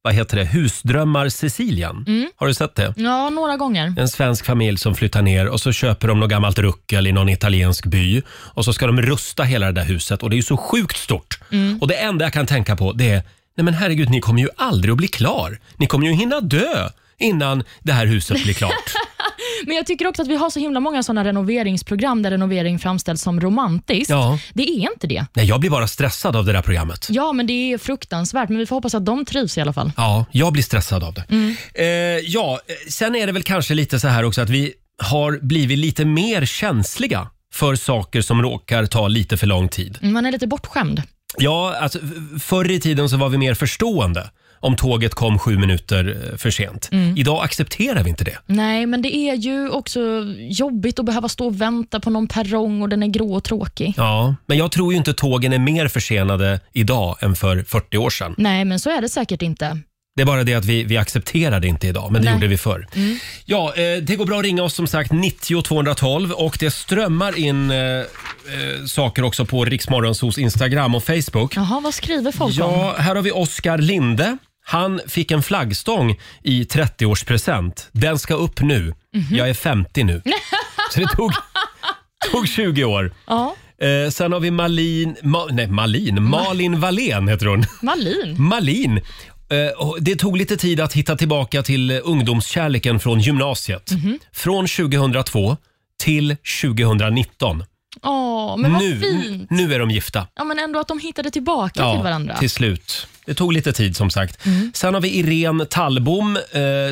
Speaker 1: vad heter det, Husdrömmar Sicilien. Har du sett det?
Speaker 2: Ja, några gånger.
Speaker 1: En svensk familj som flyttar ner och så köper de något gammalt ruckel i någon italiensk by och så ska de rusta hela det där huset och det är ju så sjukt stort.
Speaker 2: Mm.
Speaker 1: Och det enda jag kan tänka på det är, nej men herregud, ni kommer ju aldrig att bli klar. Ni kommer ju hinna dö. innan det här huset blir klart.
Speaker 2: Men jag tycker också att vi har så himla många såna renoveringsprogram där renovering framställs som romantiskt.
Speaker 1: Ja.
Speaker 2: Det är inte det.
Speaker 1: Nej, jag blir bara stressad av det där programmet.
Speaker 2: Ja, men det är fruktansvärt. Men vi får hoppas att de trivs i alla fall.
Speaker 1: Ja, jag blir stressad av det.
Speaker 2: Mm.
Speaker 1: Eh, ja, eh, sen är det väl kanske lite så här också att vi har blivit lite mer känsliga för saker som råkar ta lite för lång tid.
Speaker 2: Man är lite bortskämd.
Speaker 1: Ja, alltså, f- förr i tiden så var vi mer förstående om tåget kom sju minuter eh, för sent.
Speaker 2: Mm.
Speaker 1: Idag accepterar vi inte det.
Speaker 2: Nej, men det är ju också jobbigt att behöva stå och vänta på någon perrong och den är grå och tråkig.
Speaker 1: Ja, men jag tror ju inte tågen är mer försenade idag än för 40 år sedan.
Speaker 2: Nej, men så är det säkert inte.
Speaker 1: Det är bara det att vi, vi accepterar det inte idag, men det
Speaker 2: Nej. Mm.
Speaker 1: gjorde vi förr. Ja, eh, det går bra att ringa oss som sagt 90 212 och det strömmar in eh, eh, saker också på Riksmorgonsos Instagram och Facebook.
Speaker 2: Jaha, vad skriver folk om?
Speaker 1: Ja, här har vi Oskar Linde. Han fick en flaggstång i 30-årspresent. Den ska upp nu.
Speaker 2: Mhm.
Speaker 1: Jag är 50 nu. Så det tog, tog 20 år.
Speaker 2: Ja,
Speaker 1: Eh, sen har vi Malin, Ma, nej Malin, Malin Wallén heter hon.
Speaker 2: Malin.
Speaker 1: Malin. Eh, och Det tog lite tid att hitta tillbaka till eh, ungdomskärleken från gymnasiet.
Speaker 2: Mhm.
Speaker 1: Från 2002 till 2019.
Speaker 2: Åh, men vad
Speaker 1: nu,
Speaker 2: fint.
Speaker 1: nu är de gifta.
Speaker 2: Ja, men ändå att de hittade tillbaka till varandra. Mm.
Speaker 1: till slut. Det tog lite tid som sagt. Sen har vi Irene Tallbom. Eh,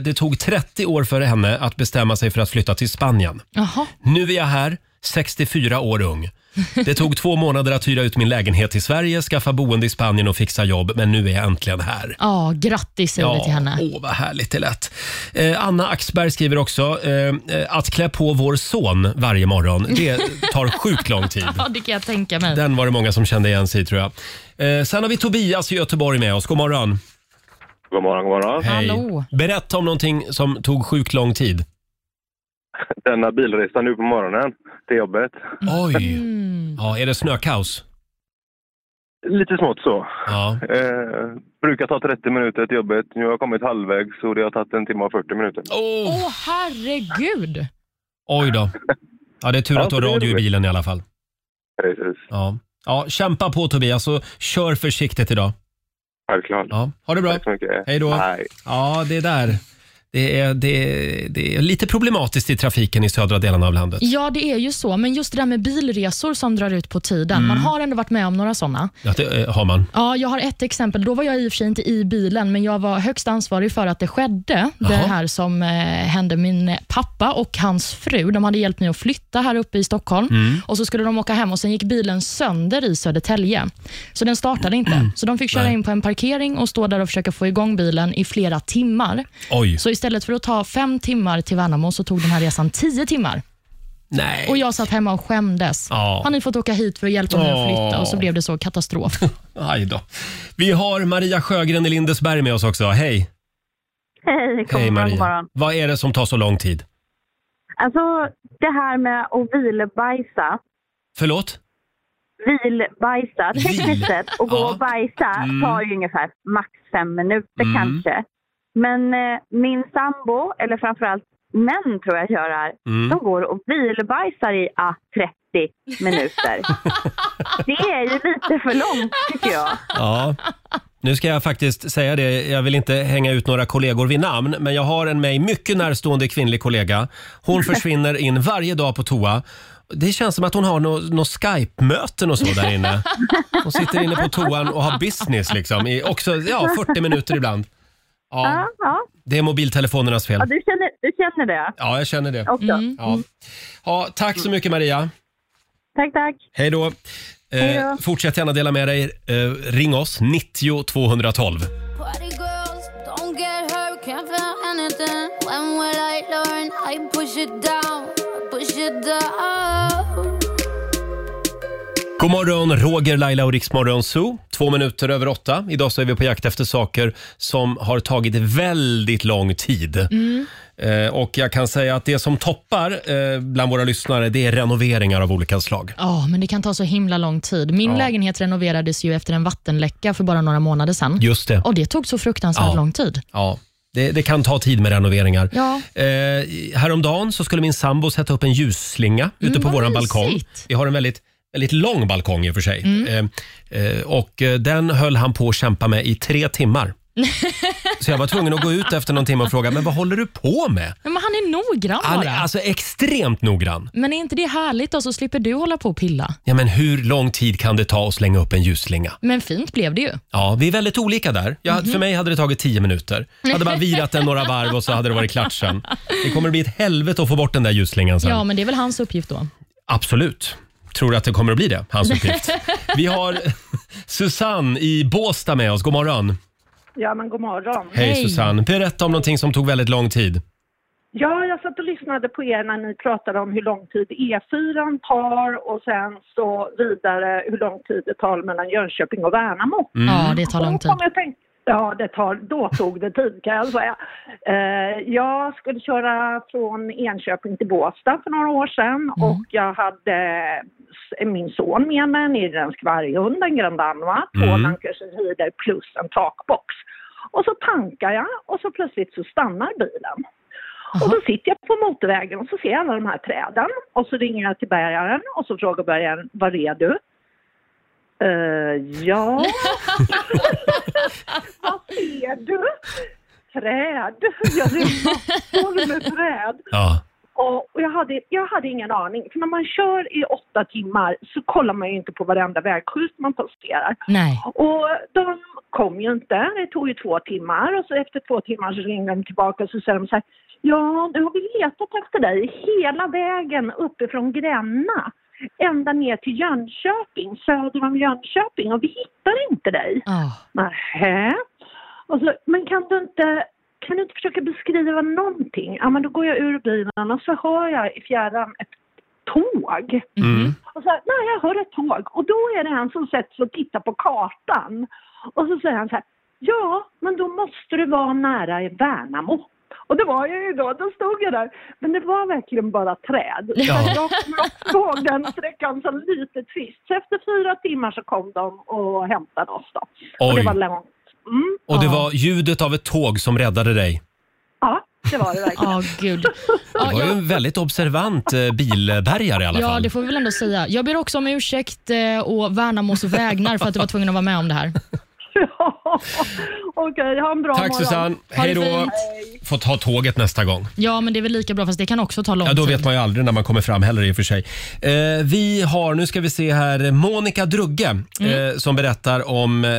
Speaker 1: Det tog 30 år för henne att bestämma sig för att flytta till Spanien.
Speaker 2: Jaha.
Speaker 1: Nu är jag här, 64 år ung. Det tog två månader att hyra ut min lägenhet i Sverige, skaffa boende i Spanien och fixa jobb, men nu är jag äntligen här.
Speaker 2: Ja, grattis säger vi till henne.
Speaker 1: Åh, vad härligt det lät. Eh, Anna Axberg skriver också eh, eh, att klä på vår son varje morgon. Det tar sjukt lång tid.
Speaker 2: Ja, det kan jag tänka mig.
Speaker 1: Den var det många som kände igen sig i, tror jag. Eh, sen har vi Tobias i Göteborg med oss. God morgon.
Speaker 13: God morgon, god morgon.
Speaker 1: Hej. Berätta om någonting som tog sjukt lång tid.
Speaker 13: Denna bilresan nu på morgonen till jobbet.
Speaker 1: Oj.
Speaker 2: Mm.
Speaker 1: Ja, är det snökaos?
Speaker 13: Lite smått så.
Speaker 1: Ja.
Speaker 13: Eh, brukar ta 30 minuter till jobbet. Nu har jag kommit halvvägs så det har tagit en timme och 40 minuter.
Speaker 2: Åh, herregud.
Speaker 1: Oh. Oj då. Ja, det är tur
Speaker 13: Ja,
Speaker 1: att du
Speaker 13: så
Speaker 1: har
Speaker 13: det är
Speaker 1: radio i
Speaker 13: roligt.
Speaker 1: bilen i alla fall.
Speaker 13: Precis.
Speaker 1: Ja. ja, kämpa på Tobias och kör försiktigt idag.
Speaker 13: Självklart.
Speaker 1: Ja. Ha det bra.
Speaker 13: Tack så mycket.
Speaker 1: Hej då.
Speaker 13: Hej.
Speaker 1: Ja, det där. Det är, det, är, det är lite problematiskt i trafiken i södra delarna av landet.
Speaker 2: Ja, det är ju så. Men just det där med bilresor som drar ut på tiden. Man
Speaker 10: Mm.
Speaker 2: har ändå varit med om några sådana.
Speaker 1: Ja, det eh, har man.
Speaker 2: Ja, jag har ett exempel. Då var jag i och för sig inte i bilen, men jag var högst ansvarig för att det skedde. Det
Speaker 10: Jaha.
Speaker 2: här som eh, hände min eh, pappa och hans fru. De hade hjälpt mig att flytta här uppe i Stockholm.
Speaker 10: Mm.
Speaker 2: Och Så skulle de åka hem och sen gick bilen sönder i Södertälje. Så den startade inte. Så de fick köra
Speaker 10: Mm. Nej.
Speaker 2: in på en parkering och stå där och försöka få igång bilen i flera timmar.
Speaker 1: Oj.
Speaker 2: Så istället för att ta fem timmar till Värnamo så tog den här resan tio timmar.
Speaker 1: Nej.
Speaker 2: Och jag satt hemma och skämdes.
Speaker 1: Ja.
Speaker 2: Har ni fått åka hit för att hjälpa mig att flytta?
Speaker 1: Åh.
Speaker 2: Och så blev det så katastrof.
Speaker 1: Aj då. Vi har Maria Sjögren i Lindesberg med oss också. Hej!
Speaker 14: Hej, god
Speaker 1: Hej
Speaker 14: morgon, god
Speaker 1: Maria.
Speaker 14: morgon.
Speaker 1: Vad är det som tar så lång tid?
Speaker 14: Alltså det här med att vilbajsa,
Speaker 1: Förlåt?
Speaker 14: vilbajsa, tekniskt sett, och gå
Speaker 1: Ja.
Speaker 14: och bajsa
Speaker 1: Mm.
Speaker 14: tar ju ungefär max fem minuter
Speaker 1: Mm.
Speaker 14: kanske. Men eh, min sambo, eller framförallt män tror jag gör det här,
Speaker 10: Mm.
Speaker 14: de går och vilbajsar i ah, 30 minuter. det är ju lite för långt tycker jag.
Speaker 1: Ja. Nu ska jag faktiskt säga det, jag vill inte hänga ut några kollegor vid namn, men jag har en mig mycket närstående kvinnlig kollega. Hon försvinner in varje dag på toa. Det känns som att hon har några nå nå Skype-möten och så där inne. Hon sitter inne på toan och har business liksom, i också, ja, 40 minuter ibland. Ja,
Speaker 14: Ja, ja.
Speaker 1: det är mobiltelefonernas fel.
Speaker 14: ja du, känner, du känner det?
Speaker 1: Ja, jag känner det.
Speaker 14: Också. Mm.
Speaker 1: Ja. Ja, tack så mycket Maria.
Speaker 14: Tack, tack.
Speaker 1: Hej då.
Speaker 14: Hej
Speaker 1: Eh,
Speaker 14: då.
Speaker 1: fortsätt gärna dela med dig. Eh, ring oss, 90 212.
Speaker 5: Party girls, don't get hurt, can't feel anything. When will I learn? I push it down, push it down.
Speaker 1: God morgon, Roger, Laila och Riksmorgon Zoo. Två minuter över åtta. Idag så är vi på jakt efter saker som har tagit väldigt lång tid.
Speaker 14: Mm.
Speaker 1: Eh, och jag kan säga att det som toppar eh, bland våra lyssnare, det är renoveringar av olika slag.
Speaker 2: Ja, men det kan ta så himla lång tid. Min
Speaker 1: Ja.
Speaker 2: lägenhet renoverades ju efter en vattenläcka för bara några månader sedan.
Speaker 1: Just det.
Speaker 2: Och det tog så fruktansvärt
Speaker 1: Ja.
Speaker 2: lång tid.
Speaker 1: Ja, det, det kan ta tid med renoveringar.
Speaker 2: Ja.
Speaker 1: Eh, häromdagen så skulle min sambo sätta upp en ljusslinga ute på
Speaker 2: Mm, vad
Speaker 1: våran
Speaker 2: mysigt.
Speaker 1: balkong. Vi har en väldigt, väldigt
Speaker 2: Mm.
Speaker 1: lång balkong i och för sig. Eh, eh, och eh, den höll han på att kämpa med i tre timmar. Så jag var tvungen att gå ut efter någon timme och fråga, men vad håller du på med?
Speaker 2: Men han är noggrann
Speaker 1: Han är
Speaker 2: bara.
Speaker 1: alltså extremt noggrann.
Speaker 2: Men är inte det härligt då, så slipper du hålla på och pilla.
Speaker 1: Ja, men hur lång tid kan det ta att slänga upp en ljusslinga?
Speaker 2: Men fint blev det ju.
Speaker 1: Ja, vi är väldigt olika där. Jag, För mig hade det tagit tio minuter. Jag hade bara virat den några varv och så hade det varit klart sen. Det kommer bli ett helvete att få bort den där ljusslingan sen.
Speaker 2: Ja, men det är väl hans uppgift då.
Speaker 1: Absolut. Tror du att det kommer att bli det, hans uppgift? Vi har Susanne i Båstad med oss. God morgon.
Speaker 10: Ja, men god morgon.
Speaker 1: Hej, Susanne. Berätta om någonting som tog väldigt lång tid.
Speaker 10: Ja, jag satt och lyssnade på er när ni pratade om hur lång tid E4 tar och sen så vidare hur lång tid det tar mellan Jönköping och Värnamo.
Speaker 2: Mm. Ja, det tar lång tid.
Speaker 10: Då kom jag tänka, ja, det tar, då tog det tid kan jag säga. Eh, jag skulle köra från Enköping till Båstad för några år sedan
Speaker 2: Mm.
Speaker 10: och jag hade s- min son med mig, en irländsk varghund, en Grand Danmark, två
Speaker 11: Mm.
Speaker 10: Lancashire plus en takbox. Och så tankar jag och så plötsligt så stannar bilen. Och då sitter jag på motorvägen och så ser jag alla de här träden. Och så ringer jag till bärgaren och så frågar bärgaren, var är du? Eh, ja... Vad ser du? Träd. Jag ser massor med träd.
Speaker 1: Ja.
Speaker 10: Och och jag hade, jag hade ingen aning. För när man kör i åtta timmar så kollar man ju inte på varenda vägskylt man passerar.
Speaker 2: Nej.
Speaker 10: Och de kom ju inte. Det tog ju två timmar och så efter två timmar så ringde de tillbaka och så säger de så här. Ja, nu har vi letat efter dig hela vägen uppifrån Gränna ända ner till Jönköping, söder om Jönköping och vi hittar inte dig. Nähä. Och så, men kan du inte kan du inte försöka beskriva någonting? Ja, men då går jag ur bilen och så hör jag i fjärran ett tåg.
Speaker 1: Mm.
Speaker 2: Mm.
Speaker 10: Och så, här, nej, jag hör ett tåg. Och då är det en som sätter sig och tittar på kartan. Och så säger han så här, ja, men då måste du vara nära i Värnamo. Och det var jag ju då, då stod jag där. Men det var verkligen bara träd. Så
Speaker 11: Ja.
Speaker 10: Jag kommer också ihåg den sträckan som lite trist. Så efter fyra timmar så kom de och hämtade oss då. Och det
Speaker 1: Oj.
Speaker 10: var långt. Mm.
Speaker 1: Och det var ljudet av ett tåg som räddade dig.
Speaker 10: Ja, det var det verkligen.
Speaker 2: Ja, gud.
Speaker 1: Du var ju en väldigt observant eh, bilbärgare i alla
Speaker 2: Ja,
Speaker 1: fall.
Speaker 2: det får vi väl ändå säga. Jag ber också om ursäkt eh, och Värnamos vägnar för att du var tvungen att vara med om det här.
Speaker 10: Okej, ha en bra
Speaker 1: Tack Susanne. Hej då. Får ta tåget nästa gång.
Speaker 2: Ja, men det är väl lika bra, fast det kan också ta lång
Speaker 1: Ja, då
Speaker 2: tid.
Speaker 1: vet man ju aldrig när man kommer fram heller i och för sig. Eh, vi har, nu ska vi se här, Monica Drugge
Speaker 2: Mm.
Speaker 1: eh, som berättar om eh,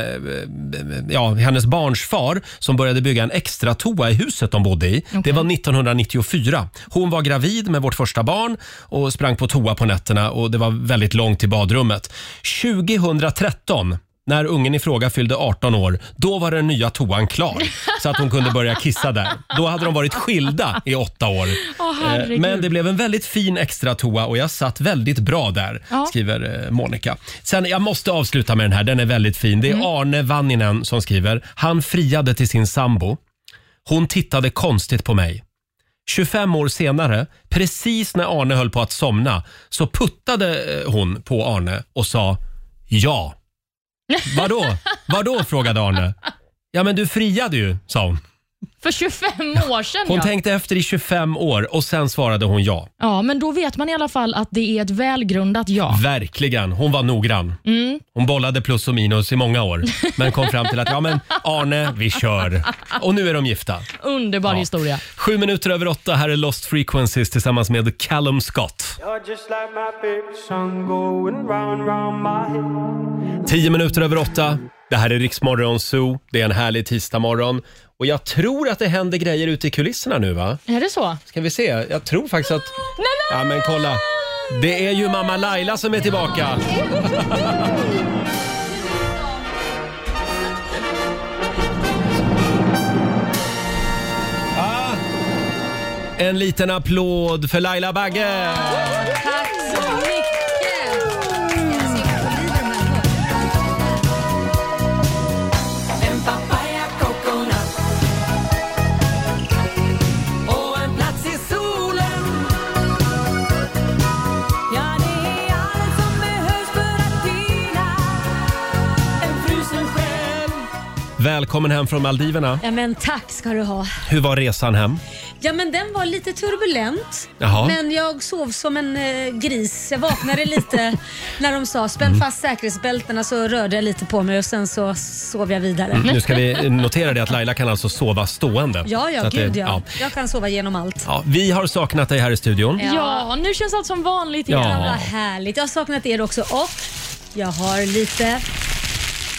Speaker 1: ja, hennes barns far som började bygga en extra toa i huset de bodde i. Det var 1994. Hon var gravid med vårt första barn och sprang på toa på nätterna och det var väldigt långt till badrummet. 2013 när ungen i fråga fyllde 18 år, då var den nya toan klar så att hon kunde börja kissa där. Då hade de varit skilda i åtta år.
Speaker 11: Åh, herregud.
Speaker 1: Eh, Men det blev en väldigt fin extra toa och jag satt väldigt bra där,
Speaker 11: Ja.
Speaker 1: skriver eh, Monica. Sen, jag måste avsluta med den här, den är väldigt fin. Det är
Speaker 11: Mm.
Speaker 1: Arne Vanninen som skriver. Han friade till sin sambo. Hon tittade konstigt på mig. 25 år senare, precis när Arne höll på att somna, så puttade eh, hon på Arne och sa ja. Vadå? Vadå? frågade Arne. Ja, men du friade ju, sa hon.
Speaker 2: För 25 år sedan
Speaker 1: Hon
Speaker 2: ja.
Speaker 1: tänkte efter i 25 år och sen svarade hon ja.
Speaker 2: ja, men då vet man i alla fall att det är ett välgrundat ja.
Speaker 1: Verkligen. Hon var noggrann.
Speaker 2: Mm.
Speaker 1: Hon bollade plus och minus i många år, men kom fram till att ja men Arne, vi kör. Och nu är de gifta.
Speaker 2: Underbar
Speaker 1: Ja.
Speaker 2: historia.
Speaker 1: Sju minuter över åtta, här är Lost Frequencies tillsammans med Callum Scott.
Speaker 11: You're just like my favorite song going round, round my head.
Speaker 1: Tio minuter över åtta, det här är Riksmorgon Zoo, det är en härlig tisdagmorgon. Och jag tror att det händer grejer ute i kulisserna nu va?
Speaker 2: Är det så?
Speaker 1: Ska vi se, jag tror faktiskt att... Ja men kolla, det är ju mamma Laila som är tillbaka. En liten applåd för Laila Bagge!
Speaker 11: Tack så mycket! En papaya coconut och en plats i solen Ja, det är allt som behövs för att dina en frusen själ
Speaker 1: Välkommen hem från Maldiverna.
Speaker 15: Ja, men tack ska du ha.
Speaker 1: Hur var resan hem?
Speaker 15: Ja, men den var lite turbulent.
Speaker 1: Jaha.
Speaker 15: Men jag sov som en eh, gris. Jag vaknade lite när de sa spänn fast säkerhetsbältena så rörde jag lite på mig och sen så sov jag vidare.
Speaker 1: Mm, Nu ska vi notera det att Laila kan alltså sova stående.
Speaker 15: Ja,
Speaker 1: Så
Speaker 15: ja,
Speaker 1: att det-
Speaker 15: gud ja. Jag kan sova genom allt.
Speaker 1: Ja, vi har saknat dig här i studion.
Speaker 15: Ja, nu känns allt som vanligt
Speaker 1: igen.
Speaker 15: Ja.
Speaker 1: Ja.
Speaker 15: Vad härligt. Jag har saknat er också och jag har lite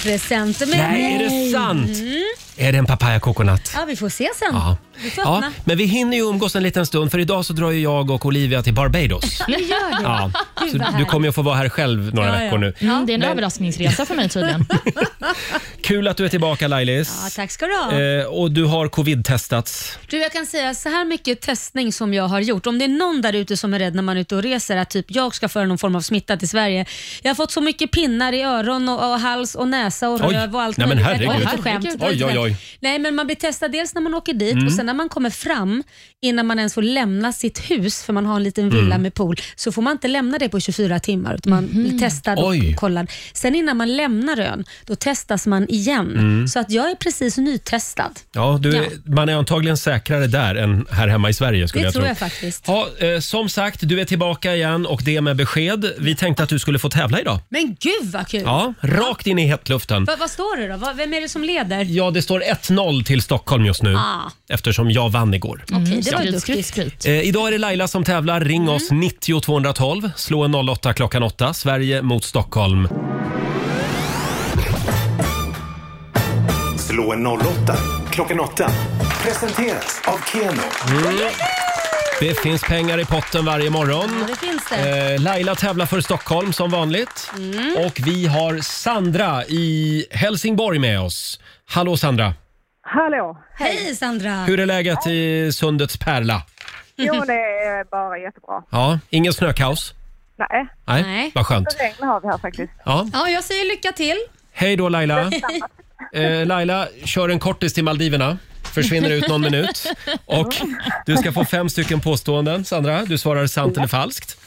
Speaker 15: presenter med
Speaker 1: Nej,
Speaker 15: mig.
Speaker 1: är det sant?
Speaker 15: Mm.
Speaker 1: Är det en papaya coconut?
Speaker 15: Ja, vi får se sen.
Speaker 1: Ja.
Speaker 15: Vi får
Speaker 1: ja,
Speaker 15: öppna.
Speaker 1: men vi hinner ju umgås en liten stund för idag så drar ju jag och Olivia till Barbados.
Speaker 2: Ni gör det?
Speaker 1: Ja. Så du kommer ju att få vara här själv några veckor nu.
Speaker 2: Mm, det är en överraskningsresa för mig tydligen.
Speaker 1: Kul att du är tillbaka
Speaker 15: Ja,
Speaker 1: Lailis.
Speaker 15: tack ska du ha.
Speaker 1: eh, och du har covid-testats.
Speaker 15: Du, jag kan säga så här mycket testning som jag har gjort. Om det är någon där ute som är rädd när man är ute och reser att typ jag ska föra någon form av smitta till Sverige. Jag har fått så mycket pinnar i öron och, och hals och näsa och
Speaker 1: Oj.
Speaker 15: röv och allt
Speaker 1: Nej, men
Speaker 15: möjligt. Det var
Speaker 1: herregud.
Speaker 15: inte skämt. Det var
Speaker 1: Oj,
Speaker 15: inte
Speaker 1: oj,
Speaker 15: skämt.
Speaker 1: oj.
Speaker 15: Nej, men man blir testad dels när man åker dit
Speaker 1: Mm.
Speaker 15: och sen när man kommer fram innan man ens får lämna sitt hus, för man har en liten villa
Speaker 1: Mm.
Speaker 15: med pool, så får man inte lämna det på 24 timmar utan man
Speaker 1: Mm-hmm.
Speaker 15: blir testad och
Speaker 1: Oj.
Speaker 15: kollad. Sen innan man lämnar ön, då testas man igen.
Speaker 1: Mm.
Speaker 15: Så att jag är precis nytestad.
Speaker 1: Ja, du,
Speaker 15: Ja.
Speaker 1: man är antagligen säkrare där än här hemma i Sverige skulle
Speaker 15: Det
Speaker 1: jag tro.
Speaker 15: tror jag faktiskt.
Speaker 1: Ja, eh, som sagt, du är tillbaka igen och det med besked. Vi tänkte att du skulle få tävla idag.
Speaker 15: Men gud vad kul!
Speaker 1: Ja, rakt in i hetluften.
Speaker 15: Va, vad står det då? Va, vem är det som leder?
Speaker 1: Ja, det står 1-0 till Stockholm just nu
Speaker 15: Ah. Mm.
Speaker 1: eftersom jag vann igår.
Speaker 2: Mm,
Speaker 15: Okej, det var
Speaker 1: Ja.
Speaker 15: duktigt.
Speaker 1: Eh, idag är det Laila som tävlar. Ring
Speaker 15: Mm.
Speaker 1: oss 90 212. Slå en 08 klockan 8. Sverige mot Stockholm.
Speaker 3: Slå en 08 klockan 8. Presenteras av Keno.
Speaker 1: Mm. Det finns pengar i potten varje morgon.
Speaker 15: Ja, det finns det.
Speaker 1: Eh, Laila tävlar för Stockholm som vanligt.
Speaker 15: Mm.
Speaker 1: Och vi har Sandra i Helsingborg med oss. Hallå Sandra!
Speaker 16: Hallå!
Speaker 15: Hej Sandra!
Speaker 1: Hur är läget i Sundets pärla?
Speaker 16: Jo, det är bara jättebra.
Speaker 1: Ja, ingen snökaos?
Speaker 16: Nej.
Speaker 1: Nej, vad skönt.
Speaker 16: Regn har vi här faktiskt.
Speaker 1: Ja.
Speaker 15: Ja, jag säger lycka till.
Speaker 1: Hej då Laila! Eh, Laila, kör en kortis till Maldiverna. Försvinner ut någon minut. Och du ska få fem stycken påståenden, Sandra. Du svarar sant eller falskt.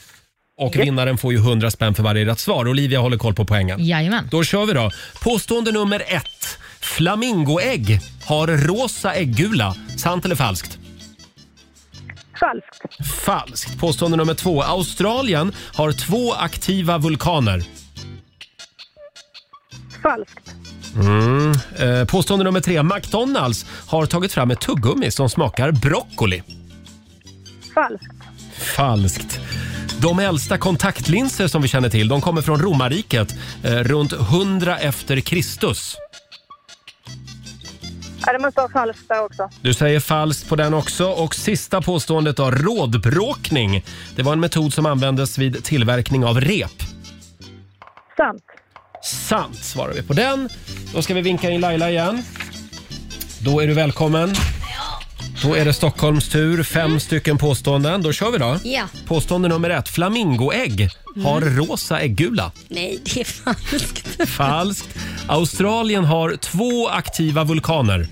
Speaker 1: Och vinnaren får ju 100 spänn för varje rätt svar. Olivia håller koll på poängen.
Speaker 2: Jajamän.
Speaker 1: Då kör vi då. Påstående nummer ett. Flamingoägg har rosa ägggula. Sant eller falskt?
Speaker 16: Falskt.
Speaker 1: Falskt. Påstående nummer två. Australien har två aktiva vulkaner.
Speaker 16: Falskt.
Speaker 1: Mm. Eh, påstående nummer tre. McDonalds har tagit fram ett tuggummi som smakar broccoli.
Speaker 16: Falskt.
Speaker 1: Falskt. De äldsta kontaktlinser som vi känner till de kommer från romarriket eh, runt 100 efter Kristus.
Speaker 16: Ja, det måste vara falskt där också.
Speaker 1: Du säger falskt på den också. Och sista påståendet då, rådbråkning. Det var en metod som användes vid tillverkning av rep.
Speaker 16: Sant.
Speaker 1: Sant svarar vi på den. Då ska vi vinka in Laila igen. Då är du välkommen. Då är det Stockholms tur. Fem stycken påståenden. Då kör vi då.
Speaker 15: Ja.
Speaker 1: Påstående nummer ett. Flamingoägg har
Speaker 15: Mm.
Speaker 1: rosa äggula.
Speaker 15: Nej, det är falskt.
Speaker 1: Falskt. Australien har två aktiva vulkaner.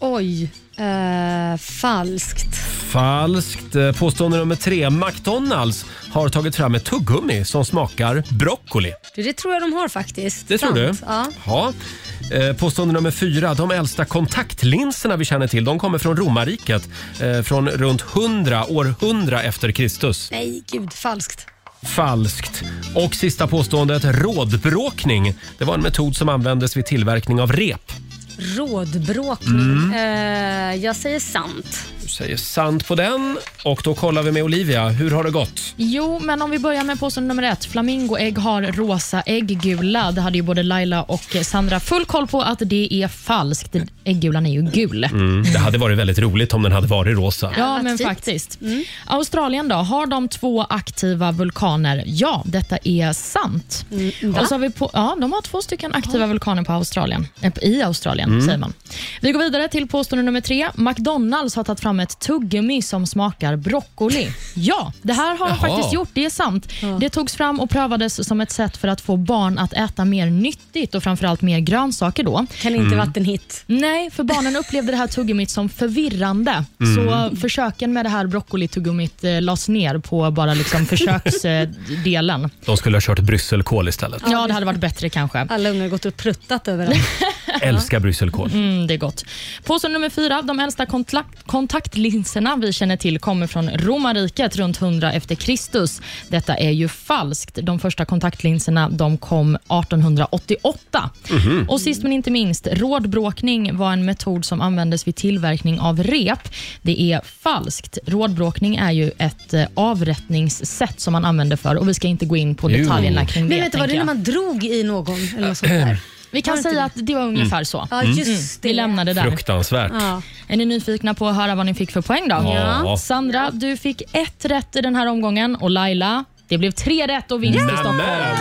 Speaker 15: Oj, eh, falskt.
Speaker 1: Falskt. Eh, Påstående nummer tre. McDonalds har tagit fram ett tuggummi som smakar broccoli.
Speaker 15: Du, det tror jag de har faktiskt.
Speaker 1: Det tror
Speaker 15: Sant.
Speaker 1: du?
Speaker 15: Ja.
Speaker 1: Ja. Eh, Påstående nummer fyra. De äldsta kontaktlinserna vi känner till de kommer från romarriket eh, från runt 100 år 100 efter Kristus.
Speaker 15: Nej, gud, falskt.
Speaker 1: Falskt. Och sista påståendet. Rådbråkning. Det var en metod som användes vid tillverkning av rep.
Speaker 15: Rådbråkning.
Speaker 1: Mm.
Speaker 15: Eh, jag säger sant.
Speaker 1: Du säger sant på den. Och då kollar vi med Olivia. Hur har det gått?
Speaker 2: Jo, men om vi börjar med påstående nummer ett. Flamingoägg har rosa ägggula. Det hade ju både Laila och Sandra full koll på att det är falskt. Äggulan är ju gul.
Speaker 1: Mm, det hade varit väldigt roligt om den hade varit rosa.
Speaker 2: Ja, men faktiskt. Australien då, har de två aktiva vulkaner? Ja, detta är sant. Och så har vi på, ja, de har två stycken aktiva vulkaner på Australien, eh, i Australien.
Speaker 17: Mm.
Speaker 2: säger man. Vi går vidare till påstående nummer tre. McDonalds har tagit fram ett tuggummi som smakar broccoli. Ja, det här har
Speaker 17: Jaha.
Speaker 2: de faktiskt gjort. Det är sant. Det togs fram och prövades som ett sätt för att få barn att äta mer nyttigt och framförallt mer grönsaker. Då.
Speaker 15: Kan inte Mm. varit en hit.
Speaker 2: Nej, för barnen upplevde det här tuggummit som förvirrande.
Speaker 15: Mm.
Speaker 2: Så försöken med det här broccolituggummit eh, lades ner på bara liksom försöksdelen.
Speaker 1: De skulle ha kört brysselkål istället.
Speaker 2: Ja, det hade varit bättre kanske.
Speaker 15: Alla ungar har gått och pruttat överallt.
Speaker 1: Älskar brysselkål.
Speaker 2: Mm, det är gott. Påse nummer fyra. De äldsta kontlak- kontaktlinserna vi känner till kommer från romarriket runt 100 efter Kristus. Detta är ju falskt. De första kontaktlinserna de kom 1888.
Speaker 17: Mhm.
Speaker 2: Och sist men inte minst, rådbråkning var en metod som användes vid tillverkning av rep. Det är falskt. Rådbråkning är ju ett eh, avrättningssätt som man använde för och vi ska inte gå in på
Speaker 15: Jo.
Speaker 2: detaljerna kring det.
Speaker 15: Men vänta, var det
Speaker 2: tänker
Speaker 15: när
Speaker 2: jag.
Speaker 15: man drog i någon? Eller något sånt där?
Speaker 2: Vi kan
Speaker 15: Var inte
Speaker 2: säga att
Speaker 15: det?
Speaker 2: det var ungefär
Speaker 1: Mm.
Speaker 2: så.
Speaker 15: Ja, just
Speaker 2: Mm. Vi lämnar det där.
Speaker 1: Fruktansvärt.
Speaker 2: Ja. Är ni nyfikna på att höra vad ni fick för poäng då?
Speaker 1: Ja.
Speaker 2: Sandra, du fick ett rätt i den här omgången och Laila, det blev tre rätt och vinst i Stockholm.
Speaker 1: Nämen!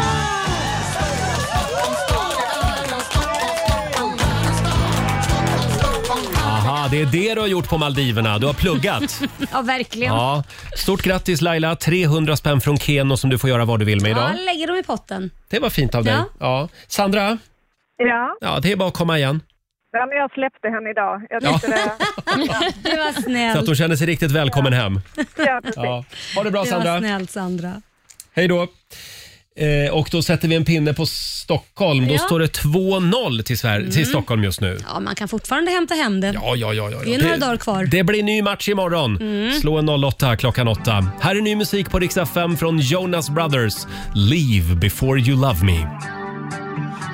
Speaker 1: Aha, det är det du har gjort på Maldiverna. Du har pluggat.
Speaker 15: ja, verkligen.
Speaker 1: Ja. Stort grattis Laila! 300 spänn från Keno som du får göra vad du vill med idag.
Speaker 15: Ja, lägger dem i potten.
Speaker 1: Det var fint av dig.
Speaker 15: Ja.
Speaker 1: Ja. Sandra,
Speaker 16: Ja.
Speaker 1: ja, det är bara att komma igen.
Speaker 16: ja, men jag släppte henne idag. Jag tyckte det...
Speaker 15: det var
Speaker 1: Så att hon
Speaker 15: snällt.
Speaker 1: känner sig riktigt välkommen hem.
Speaker 16: Ja,
Speaker 1: Ja. Ha det bra
Speaker 15: Det var
Speaker 1: Sandra.
Speaker 15: snällt Sandra.
Speaker 1: Hej då. Eh, och då sätter vi en pinne på Stockholm. Då
Speaker 15: Ja. Mm.
Speaker 1: står det 2-0 till, Sver- till Stockholm just nu.
Speaker 15: Ja, man kan fortfarande hämta hem det.
Speaker 1: Ja, ja, ja, ja, ja.
Speaker 15: Det är några dagar kvar.
Speaker 1: Det blir ny match imorgon.
Speaker 15: Mm.
Speaker 1: Slå en 08 klockan 8. Här är ny musik på riksdag 5 från Jonas Brothers. Leave before you love me.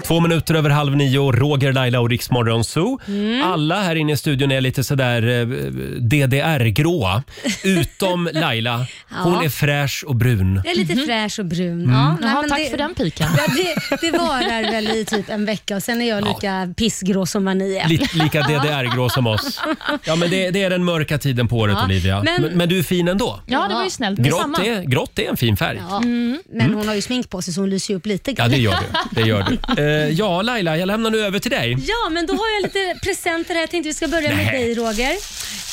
Speaker 1: Två minuter över halv nio, Roger, Laila och Riksmorgon Zoo.
Speaker 15: Mm.
Speaker 1: Alla här inne i studion är lite sådär eh, DDR-gråa. Utom Laila. Hon
Speaker 15: Ja.
Speaker 1: är fräsch och brun.
Speaker 15: Jag är lite fräsch och brun.
Speaker 1: Mhm. Mm.
Speaker 15: Ja, nej,
Speaker 2: Jaha,
Speaker 15: men
Speaker 2: tack
Speaker 15: det,
Speaker 2: för den piken.
Speaker 15: Ja, det, det varar väl i typ en vecka och sen är jag lika pissgrå som vad ni är.
Speaker 1: Li- lika DDR-grå som oss. Ja, men det, det är den mörka tiden på året,
Speaker 15: Ja,
Speaker 1: Olivia.
Speaker 15: men-
Speaker 1: Men, men du är fin ändå.
Speaker 15: Ja, det var ju snällt.
Speaker 1: Grått är, grått är en fin färg.
Speaker 15: Ja.
Speaker 2: Mm.
Speaker 15: Men hon har ju smink på sig så hon lyser ju upp lite
Speaker 1: Mm. Ja,
Speaker 15: grann.
Speaker 1: det gör du. Det gör du. Eh, ja, Laila, jag lämnar nu över till dig.
Speaker 15: Ja, men då har jag lite presenter här. Jag tänkte vi ska börja
Speaker 1: Nej.
Speaker 15: med dig Roger.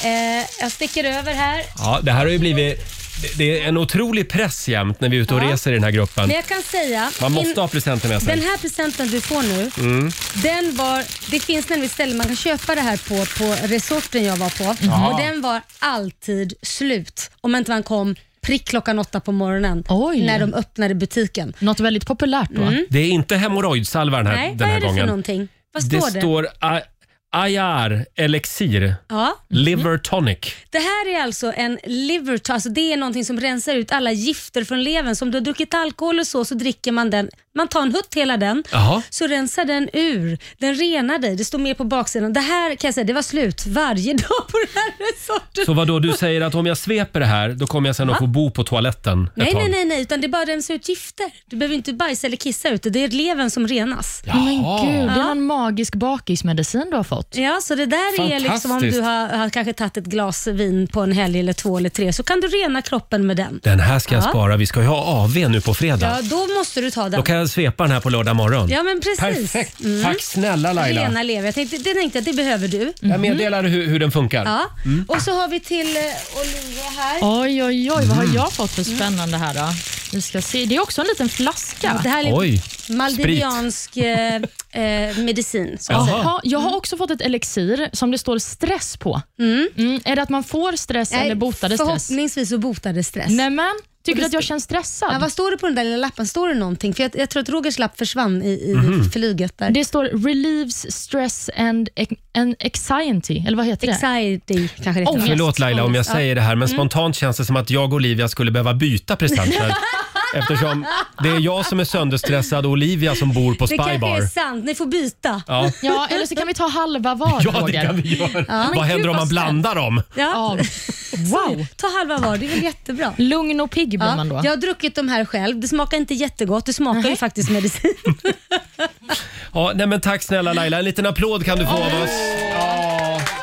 Speaker 15: Eh, jag sticker över här.
Speaker 1: Ja, det här har ju blivit... det- Det är en otrolig press jämt när vi är ute och reser i den här gruppen.
Speaker 15: Men jag kan säga.
Speaker 1: Man
Speaker 15: in-
Speaker 1: måste ha presenter med
Speaker 15: Den
Speaker 1: sig.
Speaker 15: här presenten du får nu,
Speaker 1: Mm.
Speaker 15: den var, det finns nämligen ställen man kan köpa det här på, på resorten jag var på.
Speaker 1: Ja.
Speaker 15: Och den var alltid slut om inte man kom prick klockan åtta på morgonen när de öppnade butiken.
Speaker 2: Något väldigt populärt
Speaker 15: då? Mm.
Speaker 1: Det är inte hemorrojdsalva den här,
Speaker 15: Nej,
Speaker 1: den
Speaker 15: vad
Speaker 1: här
Speaker 15: är det för
Speaker 1: gången.
Speaker 15: någonting? Vad
Speaker 1: det
Speaker 15: står det?
Speaker 1: står a- Ayar Elixir
Speaker 15: Ja.
Speaker 1: Liver Tonic.
Speaker 15: Det här är alltså en liver to- alltså det är någonting som rensar ut alla gifter från levern. Så om du har druckit alkohol och så, så dricker man den. Man tar en hutt hela den,
Speaker 1: Jaha.
Speaker 15: så rensar den ur. Den renar dig. Det står mer på baksidan. Det här kan jag säga, det var slut varje dag på den här resorten.
Speaker 1: Så vad då du säger att om jag sveper det här, då kommer jag sen att
Speaker 15: Va?
Speaker 1: få bo på toaletten ett
Speaker 15: Nej,
Speaker 1: tag?
Speaker 15: nej, nej, nej, utan det är bara rensar ut gifter. Du behöver inte bajsa eller kissa ut det. Det är levern som renas.
Speaker 2: Men gud, det är
Speaker 15: Ja.
Speaker 2: någon magisk bakismedicin du har fått.
Speaker 15: Ja, så det där är liksom om
Speaker 1: Fantastiskt.
Speaker 15: du har, har kanske tagit ett glas vin på en helg eller två eller tre så kan du rena kroppen med den.
Speaker 1: Den här ska jag
Speaker 15: Ja.
Speaker 1: spara. Vi ska ju ha AV nu på fredag.
Speaker 15: Ja, då måste du ta den.
Speaker 1: Då kan jag svepa den här på lördag morgon.
Speaker 15: Ja, men precis.
Speaker 1: Perfekt.
Speaker 15: Mm.
Speaker 1: Tack snälla Laila.
Speaker 15: Rena lever. Jag tänkte, det tänkte jag, det behöver
Speaker 2: Mm.
Speaker 15: du.
Speaker 1: Jag meddelar hur, hur den funkar.
Speaker 15: Mhm. Ja.
Speaker 1: Mm.
Speaker 15: Och så har vi till eh, Olivia här.
Speaker 2: Oj, oj, oj. Vad har jag fått för
Speaker 15: Mm.
Speaker 2: spännande här då? Vi ska se. Det är också en liten flaska.
Speaker 15: Det här är
Speaker 1: Oj.
Speaker 15: maldiviansk eh, eh, medicin. så att säga.
Speaker 2: Jaha. Alltså, Jag har också fått ett elixir som det står stress på. Mm. Är det att man får stress
Speaker 15: Nej,
Speaker 2: eller botade stress?
Speaker 15: Förhoppningsvis så botade stress.
Speaker 2: Nämen,
Speaker 15: Och
Speaker 2: tycker
Speaker 15: det
Speaker 2: du att jag
Speaker 15: st-
Speaker 2: känns stressad?
Speaker 15: Ja, vad står det på den där lilla lappen? Står det någonting? För jag, jag tror att Rogers lapp försvann i, i
Speaker 2: Mhm.
Speaker 15: flyget. Där.
Speaker 2: Det står relieves stress and, and anxiety, eller vad heter det?
Speaker 15: Anxiety kanske det heter.
Speaker 1: Förlåt Laila om jag säger det här,
Speaker 15: Mm.
Speaker 1: men spontant känns det som att jag och Olivia skulle behöva byta presenter. Eftersom det är jag som är sönderstressad och Olivia som bor på
Speaker 15: Det kanske är
Speaker 1: Spybar.
Speaker 15: sant. Ni får byta.
Speaker 1: Ja.
Speaker 2: Ja, eller så kan vi ta halva var,
Speaker 1: Ja, det
Speaker 2: Roger.
Speaker 1: kan vi göra.
Speaker 2: Ja.
Speaker 1: Vad händer om man blandar dem?
Speaker 15: Ja.
Speaker 2: Wow.
Speaker 15: Ta halva var, det är väl jättebra.
Speaker 2: Lugn och pigg blir
Speaker 15: Ja,
Speaker 2: man då.
Speaker 15: Jag har druckit de här själv. Det smakar inte jättegott. Det smakar ju faktiskt medicin.
Speaker 1: Ja, nej men tack snälla Laila, en liten applåd kan du få av oss.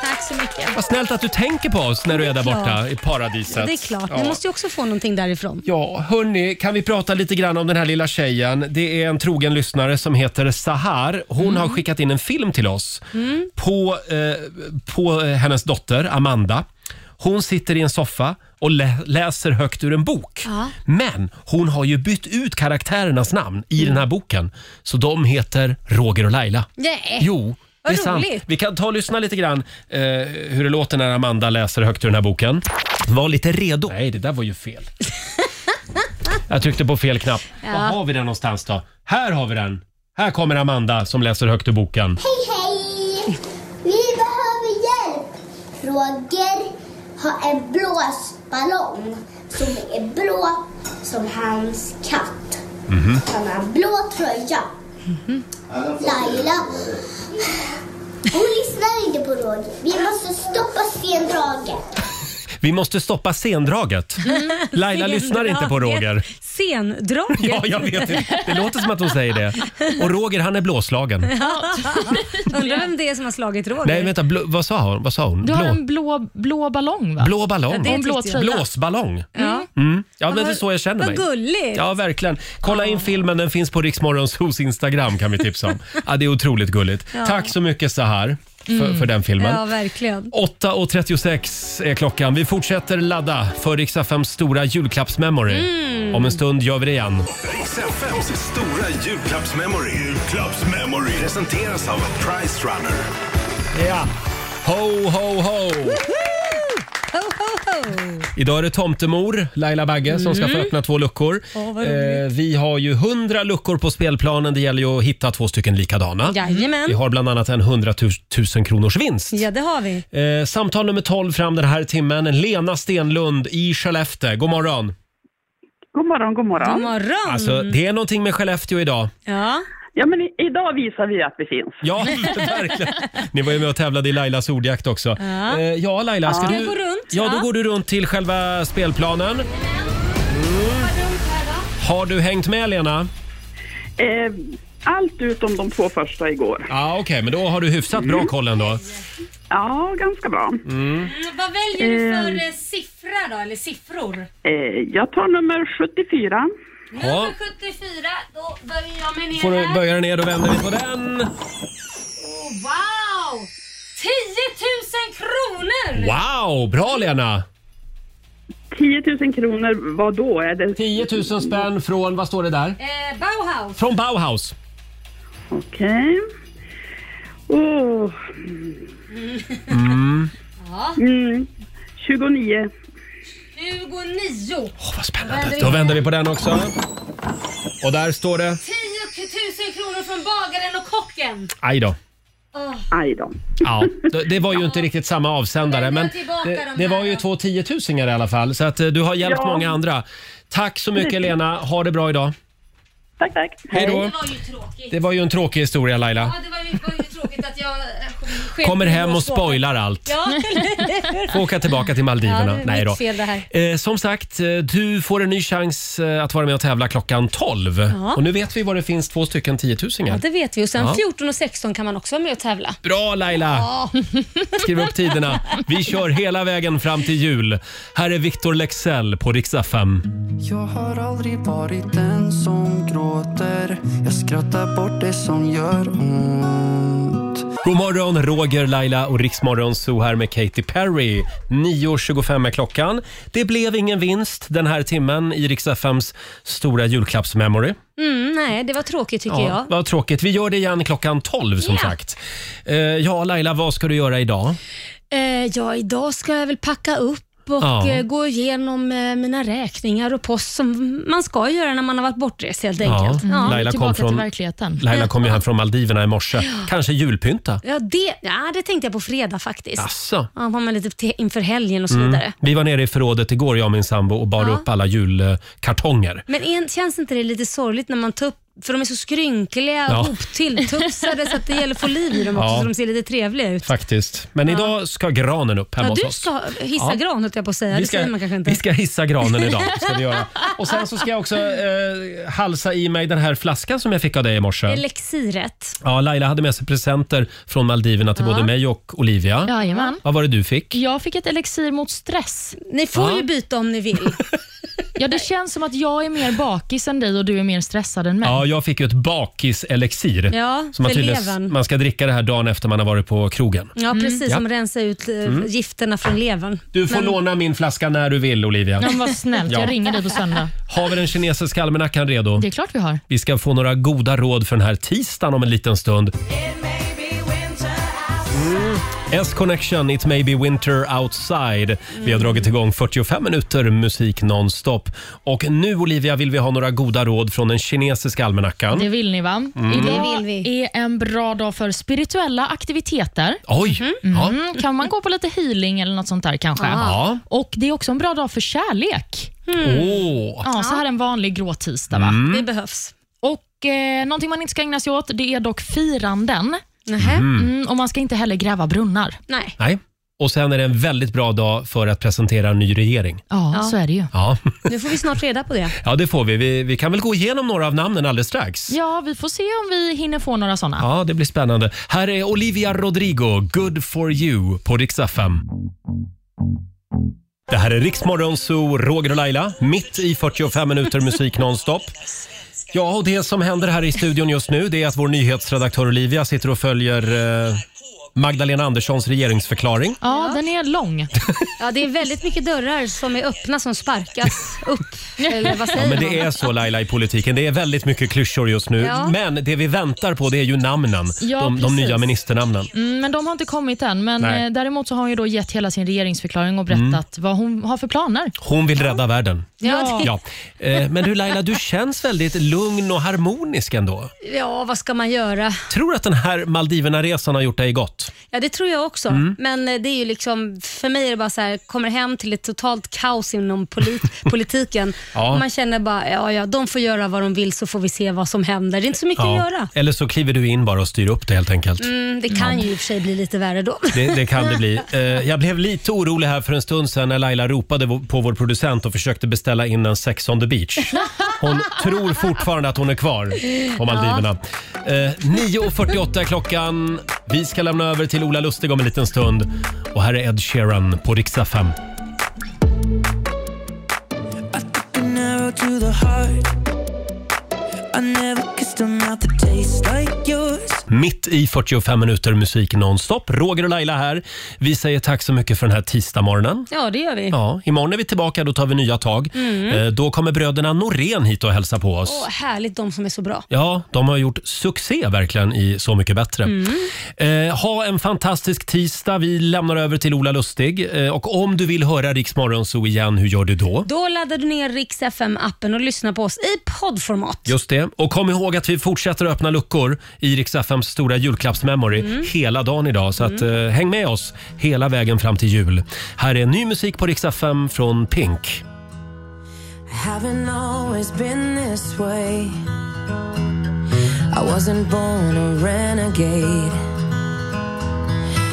Speaker 15: Tack så mycket.
Speaker 1: Vad snällt att du tänker på oss när du är där borta i paradiset.
Speaker 15: Det är klart.
Speaker 1: Ja.
Speaker 15: Ni måste ju också få någonting därifrån.
Speaker 1: Ja, hörni, kan vi prata lite grann om den här lilla tjejen? Det är en trogen lyssnare som heter Sahar. Hon har skickat in en film till oss
Speaker 15: Mm.
Speaker 1: på, eh, på eh, hennes dotter Amanda. Hon sitter i en soffa och lä- läser högt ur en bok.
Speaker 15: Ja.
Speaker 1: Men hon har ju bytt ut karaktärernas namn i den här boken. Så de heter Roger och Laila.
Speaker 15: Nej.
Speaker 1: Jo, det
Speaker 15: Vad
Speaker 1: är sant.
Speaker 15: roligt.
Speaker 1: Vi kan ta och lyssna lite grann eh, hur det låter när Amanda läser högt ur den här boken. Var lite redo. Nej, det där var ju fel. Jag tryckte på fel knapp.
Speaker 7: Ja.
Speaker 1: Var har vi den någonstans då? Här har vi den. Här kommer Amanda som läser högt ur boken.
Speaker 7: Hej hej! Roger har en blåsballong som är blå som hans katt. Han har en blå tröja. Laila, hon lyssnar inte på Roger. Vi måste stoppa stendragen.
Speaker 1: Vi måste stoppa sendraget. Laila lyssnar inte på Roger.
Speaker 15: Sendraget?
Speaker 1: Ja, jag vet inte. Det låter som att hon säger det. Och Roger, han är blåslagen.
Speaker 15: Ja. Undrar vem det är som har slagit Roger?
Speaker 1: Nej, vänta. Blå, vad sa hon? Vad sa hon?
Speaker 2: Du har
Speaker 1: Blå,
Speaker 2: en blå, blå ballong va?
Speaker 1: blå ballong.
Speaker 2: Och en blå tröja.
Speaker 1: Blåsballong.
Speaker 2: Ja.
Speaker 1: Mm. Ja, men det är
Speaker 15: Vad-
Speaker 1: så jag känner
Speaker 15: vad
Speaker 1: mig.
Speaker 15: gulligt.
Speaker 1: Ja, verkligen. Kolla in filmen. Den finns på Riksmorgons hos Instagram kan vi tipsa om. Ja, det är otroligt gulligt.
Speaker 15: Ja.
Speaker 1: Tack så mycket Sahar för,
Speaker 15: Mm.
Speaker 1: för den filmen.
Speaker 15: Ja, verkligen.
Speaker 1: 8.36 är klockan. Vi fortsätter ladda för Rix FMs stora julklappsmemory.
Speaker 6: Mm.
Speaker 1: Om en stund gör vi det igen.
Speaker 6: Riks FMs stora julklappsmemory. Julklappsmemory presenteras av Price Runner.
Speaker 1: Ja. Ho, ho, ho!
Speaker 15: Ho, ho, ho.
Speaker 1: Idag är det tomtemor, Laila Bagge, som ska få
Speaker 15: Mm.
Speaker 1: öppna två luckor.
Speaker 15: Åh, vad
Speaker 1: eh, vi har ju hundra luckor på spelplanen. Det gäller ju att hitta två stycken likadana.
Speaker 15: Jajamän.
Speaker 1: Vi har bland annat en 100 000 kronors vinst.
Speaker 15: Ja, det har vi.
Speaker 1: Eh, samtal nummer 12 fram den här timmen. Lena Stenlund i Skellefteå. God morgon!
Speaker 4: God morgon, god morgon.
Speaker 15: God morgon.
Speaker 1: Alltså, det är någonting med Skellefteå idag.
Speaker 15: Ja.
Speaker 4: Ja, men i- idag visar vi att vi finns.
Speaker 1: Ja, verkligen. Ni var ju med och tävlade i Lailas ordjakt också.
Speaker 4: Ja.
Speaker 1: Eh, ja Laila, ska
Speaker 4: Ska
Speaker 1: du...
Speaker 4: jag gå runt?
Speaker 1: Ja, då
Speaker 4: Ja.
Speaker 1: går du runt till själva spelplanen. Har du hängt med Lena?
Speaker 4: Eh, allt utom de två första igår.
Speaker 1: Ja, okej, men då har du hyfsat bra koll ändå.
Speaker 4: Ja, ganska bra.
Speaker 1: Mm.
Speaker 15: Vad väljer du
Speaker 4: Eh.
Speaker 15: för eh, siffra då, eller siffror?
Speaker 4: Eh, jag tar nummer 74.
Speaker 1: Ja,
Speaker 15: 74, då böjer jag mig ner
Speaker 1: får du
Speaker 15: här.
Speaker 1: böja dig ner, då vänder vi på den.
Speaker 15: Oh, wow! 10 000 kronor!
Speaker 1: Wow, bra Lena!
Speaker 4: 10 000 kronor, vad då? Är det...
Speaker 1: 10 000 spänn från, vad står det där?
Speaker 15: Eh, Bauhaus.
Speaker 1: Från Bauhaus.
Speaker 4: Okej.
Speaker 16: Oh.
Speaker 4: Åh.
Speaker 1: Mm.
Speaker 15: Ja,
Speaker 4: Mm. 29.
Speaker 15: 29. Åh,
Speaker 1: vad spännande. Då vänder vi på den också. Och där står det...
Speaker 15: 10 000 kronor från bagaren och kocken.
Speaker 1: Aj då.
Speaker 15: Åh.
Speaker 4: Aj då.
Speaker 1: Ja, det- det var ju inte riktigt samma avsändare men
Speaker 15: tillbaka
Speaker 1: det,
Speaker 15: de
Speaker 1: det
Speaker 15: här
Speaker 1: var ju två tiotusingar i alla fall så att eh, du har hjälpt
Speaker 15: Ja.
Speaker 1: många andra. Tack så mycket
Speaker 15: Precis.
Speaker 1: Lena, ha det bra idag.
Speaker 4: Tack, tack.
Speaker 1: Hej då.
Speaker 15: Det var ju tråkigt.
Speaker 1: Det var ju en tråkig historia
Speaker 15: Ja,
Speaker 1: Laila.
Speaker 15: det var ju, var ju tråkigt att jag eh, sket
Speaker 1: Kommer
Speaker 15: i
Speaker 1: hem och
Speaker 15: skåpet.
Speaker 1: spoilar allt.
Speaker 15: Ja, eller
Speaker 1: Får åka tillbaka till Maldiverna.
Speaker 15: Ja, det
Speaker 1: Nej
Speaker 15: är
Speaker 1: då.
Speaker 15: mitt fel det här.
Speaker 1: Eh, som sagt, eh, du får en ny chans eh, att vara med och tävla klockan 12.
Speaker 15: Ja.
Speaker 1: Och nu vet vi var det finns två stycken
Speaker 15: Ja,
Speaker 1: tiotusingar.
Speaker 15: det vet vi. Och sen
Speaker 1: Ja.
Speaker 15: 14 och 16 kan man också vara med och tävla.
Speaker 1: Bra Laila!
Speaker 15: Ja.
Speaker 1: Skriv upp tiderna. Vi kör hela vägen fram till jul. Här är Victor Lexell på riksdag 5.
Speaker 17: Jag har aldrig varit den som gråter Jag skrattar bort det som gör ont
Speaker 1: God morgon, Roger, Laila och Riksmorgon Zoo här med Katy Perry. 9.25 är klockan. Det blev ingen vinst den här timmen i Rix FMs stora julklappsmemory.
Speaker 15: Mm, nej, det var tråkigt tycker jag.
Speaker 1: Vad tråkigt. Vi gör det igen klockan 12 som
Speaker 15: Ja.
Speaker 1: sagt. Eh, ja, Laila, vad ska du göra idag?
Speaker 15: Eh, ja, idag ska jag väl packa upp och
Speaker 1: Ja.
Speaker 15: eh, gå igenom eh, mina räkningar och post som man ska göra när man har varit bortrest helt enkelt.
Speaker 1: Laila kom från, Laila kom ju hem från Maldiverna i morse. Kanske julpynta?
Speaker 15: Ja, det, ja, det tänkte jag på fredag faktiskt.
Speaker 1: Asså.
Speaker 15: Ja, var man lite te- inför helgen och så
Speaker 1: Mm.
Speaker 15: vidare.
Speaker 1: Vi var nere i förrådet igår, jag och min sambo, och bar
Speaker 15: Ja.
Speaker 1: upp alla julkartonger.
Speaker 15: Men en, känns inte det lite sorgligt när man tar upp för de är så skrynkliga
Speaker 1: Ja.
Speaker 15: och hoptilltufsade så att det gäller att få liv i dem också
Speaker 1: Ja.
Speaker 15: så de ser lite trevliga ut.
Speaker 1: Faktiskt. Men idag ska granen upp hemma
Speaker 15: Ja,
Speaker 1: hos
Speaker 15: du
Speaker 1: oss.
Speaker 15: ska hissa
Speaker 1: Ja.
Speaker 15: gran höll jag på att säga.
Speaker 1: Vi
Speaker 15: Det
Speaker 1: ska-
Speaker 15: säger man kanske inte.
Speaker 1: Vi ska hissa granen idag. Ska vi göra. Och sen så ska jag också eh, halsa i mig den här flaskan som jag fick av dig i morse.
Speaker 15: Elixiret.
Speaker 1: Ja, Laila hade med sig presenter från Maldiverna till
Speaker 2: Ja.
Speaker 1: både mig och Olivia.
Speaker 2: Jajamän.
Speaker 1: Vad var det du fick?
Speaker 2: Jag fick ett elixir mot stress.
Speaker 15: Ni
Speaker 1: får Ja. ju
Speaker 15: byta om ni vill.
Speaker 2: ja, det känns som att jag är mer bakis än dig och du är mer stressad än mig.
Speaker 1: Ja, jag fick ju ett bakiselixir.
Speaker 15: Ja,
Speaker 1: som man,
Speaker 15: för
Speaker 1: tydligen-
Speaker 15: levern.
Speaker 1: man ska dricka det här dagen efter man har varit på krogen.
Speaker 15: Ja, precis.
Speaker 1: Ja.
Speaker 15: Som rensar ut eh,
Speaker 1: Mm.
Speaker 15: gifterna från levern.
Speaker 1: Du får
Speaker 15: Men-
Speaker 1: låna min flaska när du vill, Olivia.
Speaker 2: Ja, men vad snällt.
Speaker 1: Ja.
Speaker 2: Jag ringer dig på söndag.
Speaker 1: Har vi den kinesiska almanackan redo?
Speaker 2: Det är klart vi har.
Speaker 1: Vi ska få några goda råd för den här tisdagen om en liten stund. S-Connection, It May Be Winter Outside. Vi har dragit igång 45 minuter musik nonstop. Och nu Olivia vill vi ha några goda råd från den kinesiska almanackan.
Speaker 2: Det vill ni va?
Speaker 1: Mm.
Speaker 2: Idag är en bra dag för spirituella aktiviteter.
Speaker 1: Oj!
Speaker 2: Mm, Kan man gå på lite healing eller något sånt där kanske?
Speaker 1: Ja.
Speaker 2: Och Det är också en bra dag för kärlek.
Speaker 1: Mm. Åh.
Speaker 2: Ja, så här en vanlig grå tisdag. Va?
Speaker 1: Mm. Det
Speaker 2: behövs. Och eh, Någonting man inte ska ägna sig åt det är dock firanden.
Speaker 1: Mm.
Speaker 2: Mm, och Man ska inte heller gräva brunnar.
Speaker 15: Nej.
Speaker 1: Nej. Och sen är det en väldigt bra dag för att presentera en ny regering.
Speaker 2: Ja, så är det ju.
Speaker 1: Ja,
Speaker 15: Nu får vi snart reda på det.
Speaker 1: ja det får vi. vi. Vi kan väl gå igenom några av namnen alldeles strax.
Speaker 2: Ja, vi får se om vi hinner få några såna.
Speaker 1: Ja, det blir spännande. Här är Olivia Rodrigo, Good for you, på Rix FM. Det här är Riksmorgon Zoo, Roger och Laila, mitt i 45 minuter musik nonstop. Ja, och det som händer här i studion just nu det är att vår nyhetsredaktör Olivia sitter och följer eh, Magdalena Anderssons regeringsförklaring.
Speaker 2: Ja, den är lång.
Speaker 15: Ja, det är väldigt mycket dörrar som är öppna som sparkas upp. Eller vad säger
Speaker 1: Ja, men det
Speaker 15: man?
Speaker 1: är så Laila i politiken. Det är väldigt mycket klyschor just nu.
Speaker 2: Ja.
Speaker 1: Men det vi väntar på det är ju namnen.
Speaker 2: Ja,
Speaker 1: de, de
Speaker 2: precis.
Speaker 1: nya ministernamnen.
Speaker 2: Mm, men de har inte kommit än. Men
Speaker 1: Nej.
Speaker 2: eh, däremot så har hon ju då gett hela sin regeringsförklaring och berättat vad hon har för planer.
Speaker 1: Hon vill rädda världen.
Speaker 15: Ja, det-
Speaker 1: Ja. Eh, Men du Laila, du känns väldigt lugn och harmonisk ändå.
Speaker 15: Ja, vad ska man göra?
Speaker 1: Tror du att den här Maldiverna-resan har gjort dig gott?
Speaker 15: Ja, det tror jag också.
Speaker 1: Mm.
Speaker 15: Men eh, det är ju liksom, för mig är det bara så här, kommer hem till ett totalt kaos inom polit- politiken.
Speaker 1: Ja.
Speaker 15: Och man känner bara, ja, ja, de får göra vad de vill så får vi se vad som händer. Det är inte så mycket att göra.
Speaker 1: Eller så kliver du in bara och styr upp det helt enkelt.
Speaker 15: Mm, det kan ju i och för sig bli lite värre då.
Speaker 1: Det, det kan det bli. Eh, Jag blev lite orolig här för en stund sedan när Laila ropade vo- på vår producent och försökte beställa in en Sex on the beach. Hon tror fortfarande att hon är kvar på Maldiverna. Eh, 9.48 är klockan. Vi ska lämna över till Ola Lustig om en liten stund. Och här är Ed Sheeran på riksdag 5.
Speaker 18: Like an arrow to the heart. I never kissed a mouth that tastes like yours.
Speaker 1: Mitt i 45 minuter musik nonstop. Roger och Laila här. Vi säger tack så mycket för den här tisdagsmorgonen.
Speaker 15: Ja, det gör vi.
Speaker 1: Ja, imorgon är vi tillbaka, då tar vi nya tag.
Speaker 15: Mm.
Speaker 1: Eh, Då kommer bröderna Norén hit och hälsa på oss.
Speaker 15: Åh, härligt de som är så bra.
Speaker 1: Ja, de har gjort succé verkligen i Så mycket bättre.
Speaker 15: Mm.
Speaker 1: Eh, ha en fantastisk tisdag. Vi lämnar över till Ola Lustig. Eh, och om du vill höra Rix Morgonzoo igen, hur gör du då?
Speaker 15: Då laddar du ner Rix FM-appen och lyssnar på oss i poddformat.
Speaker 1: Just det. Och kom ihåg att vi fortsätter att öppna luckor i Rix FMs stora julklappsmemory
Speaker 15: Mm.
Speaker 1: hela dagen idag. Så att, eh, häng med oss hela vägen fram till jul. Här är ny musik på Rix FM från Pink.
Speaker 18: Haven't always been this way. I wasn't born a renegade.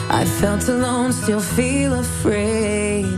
Speaker 18: I felt alone, still feel afraid.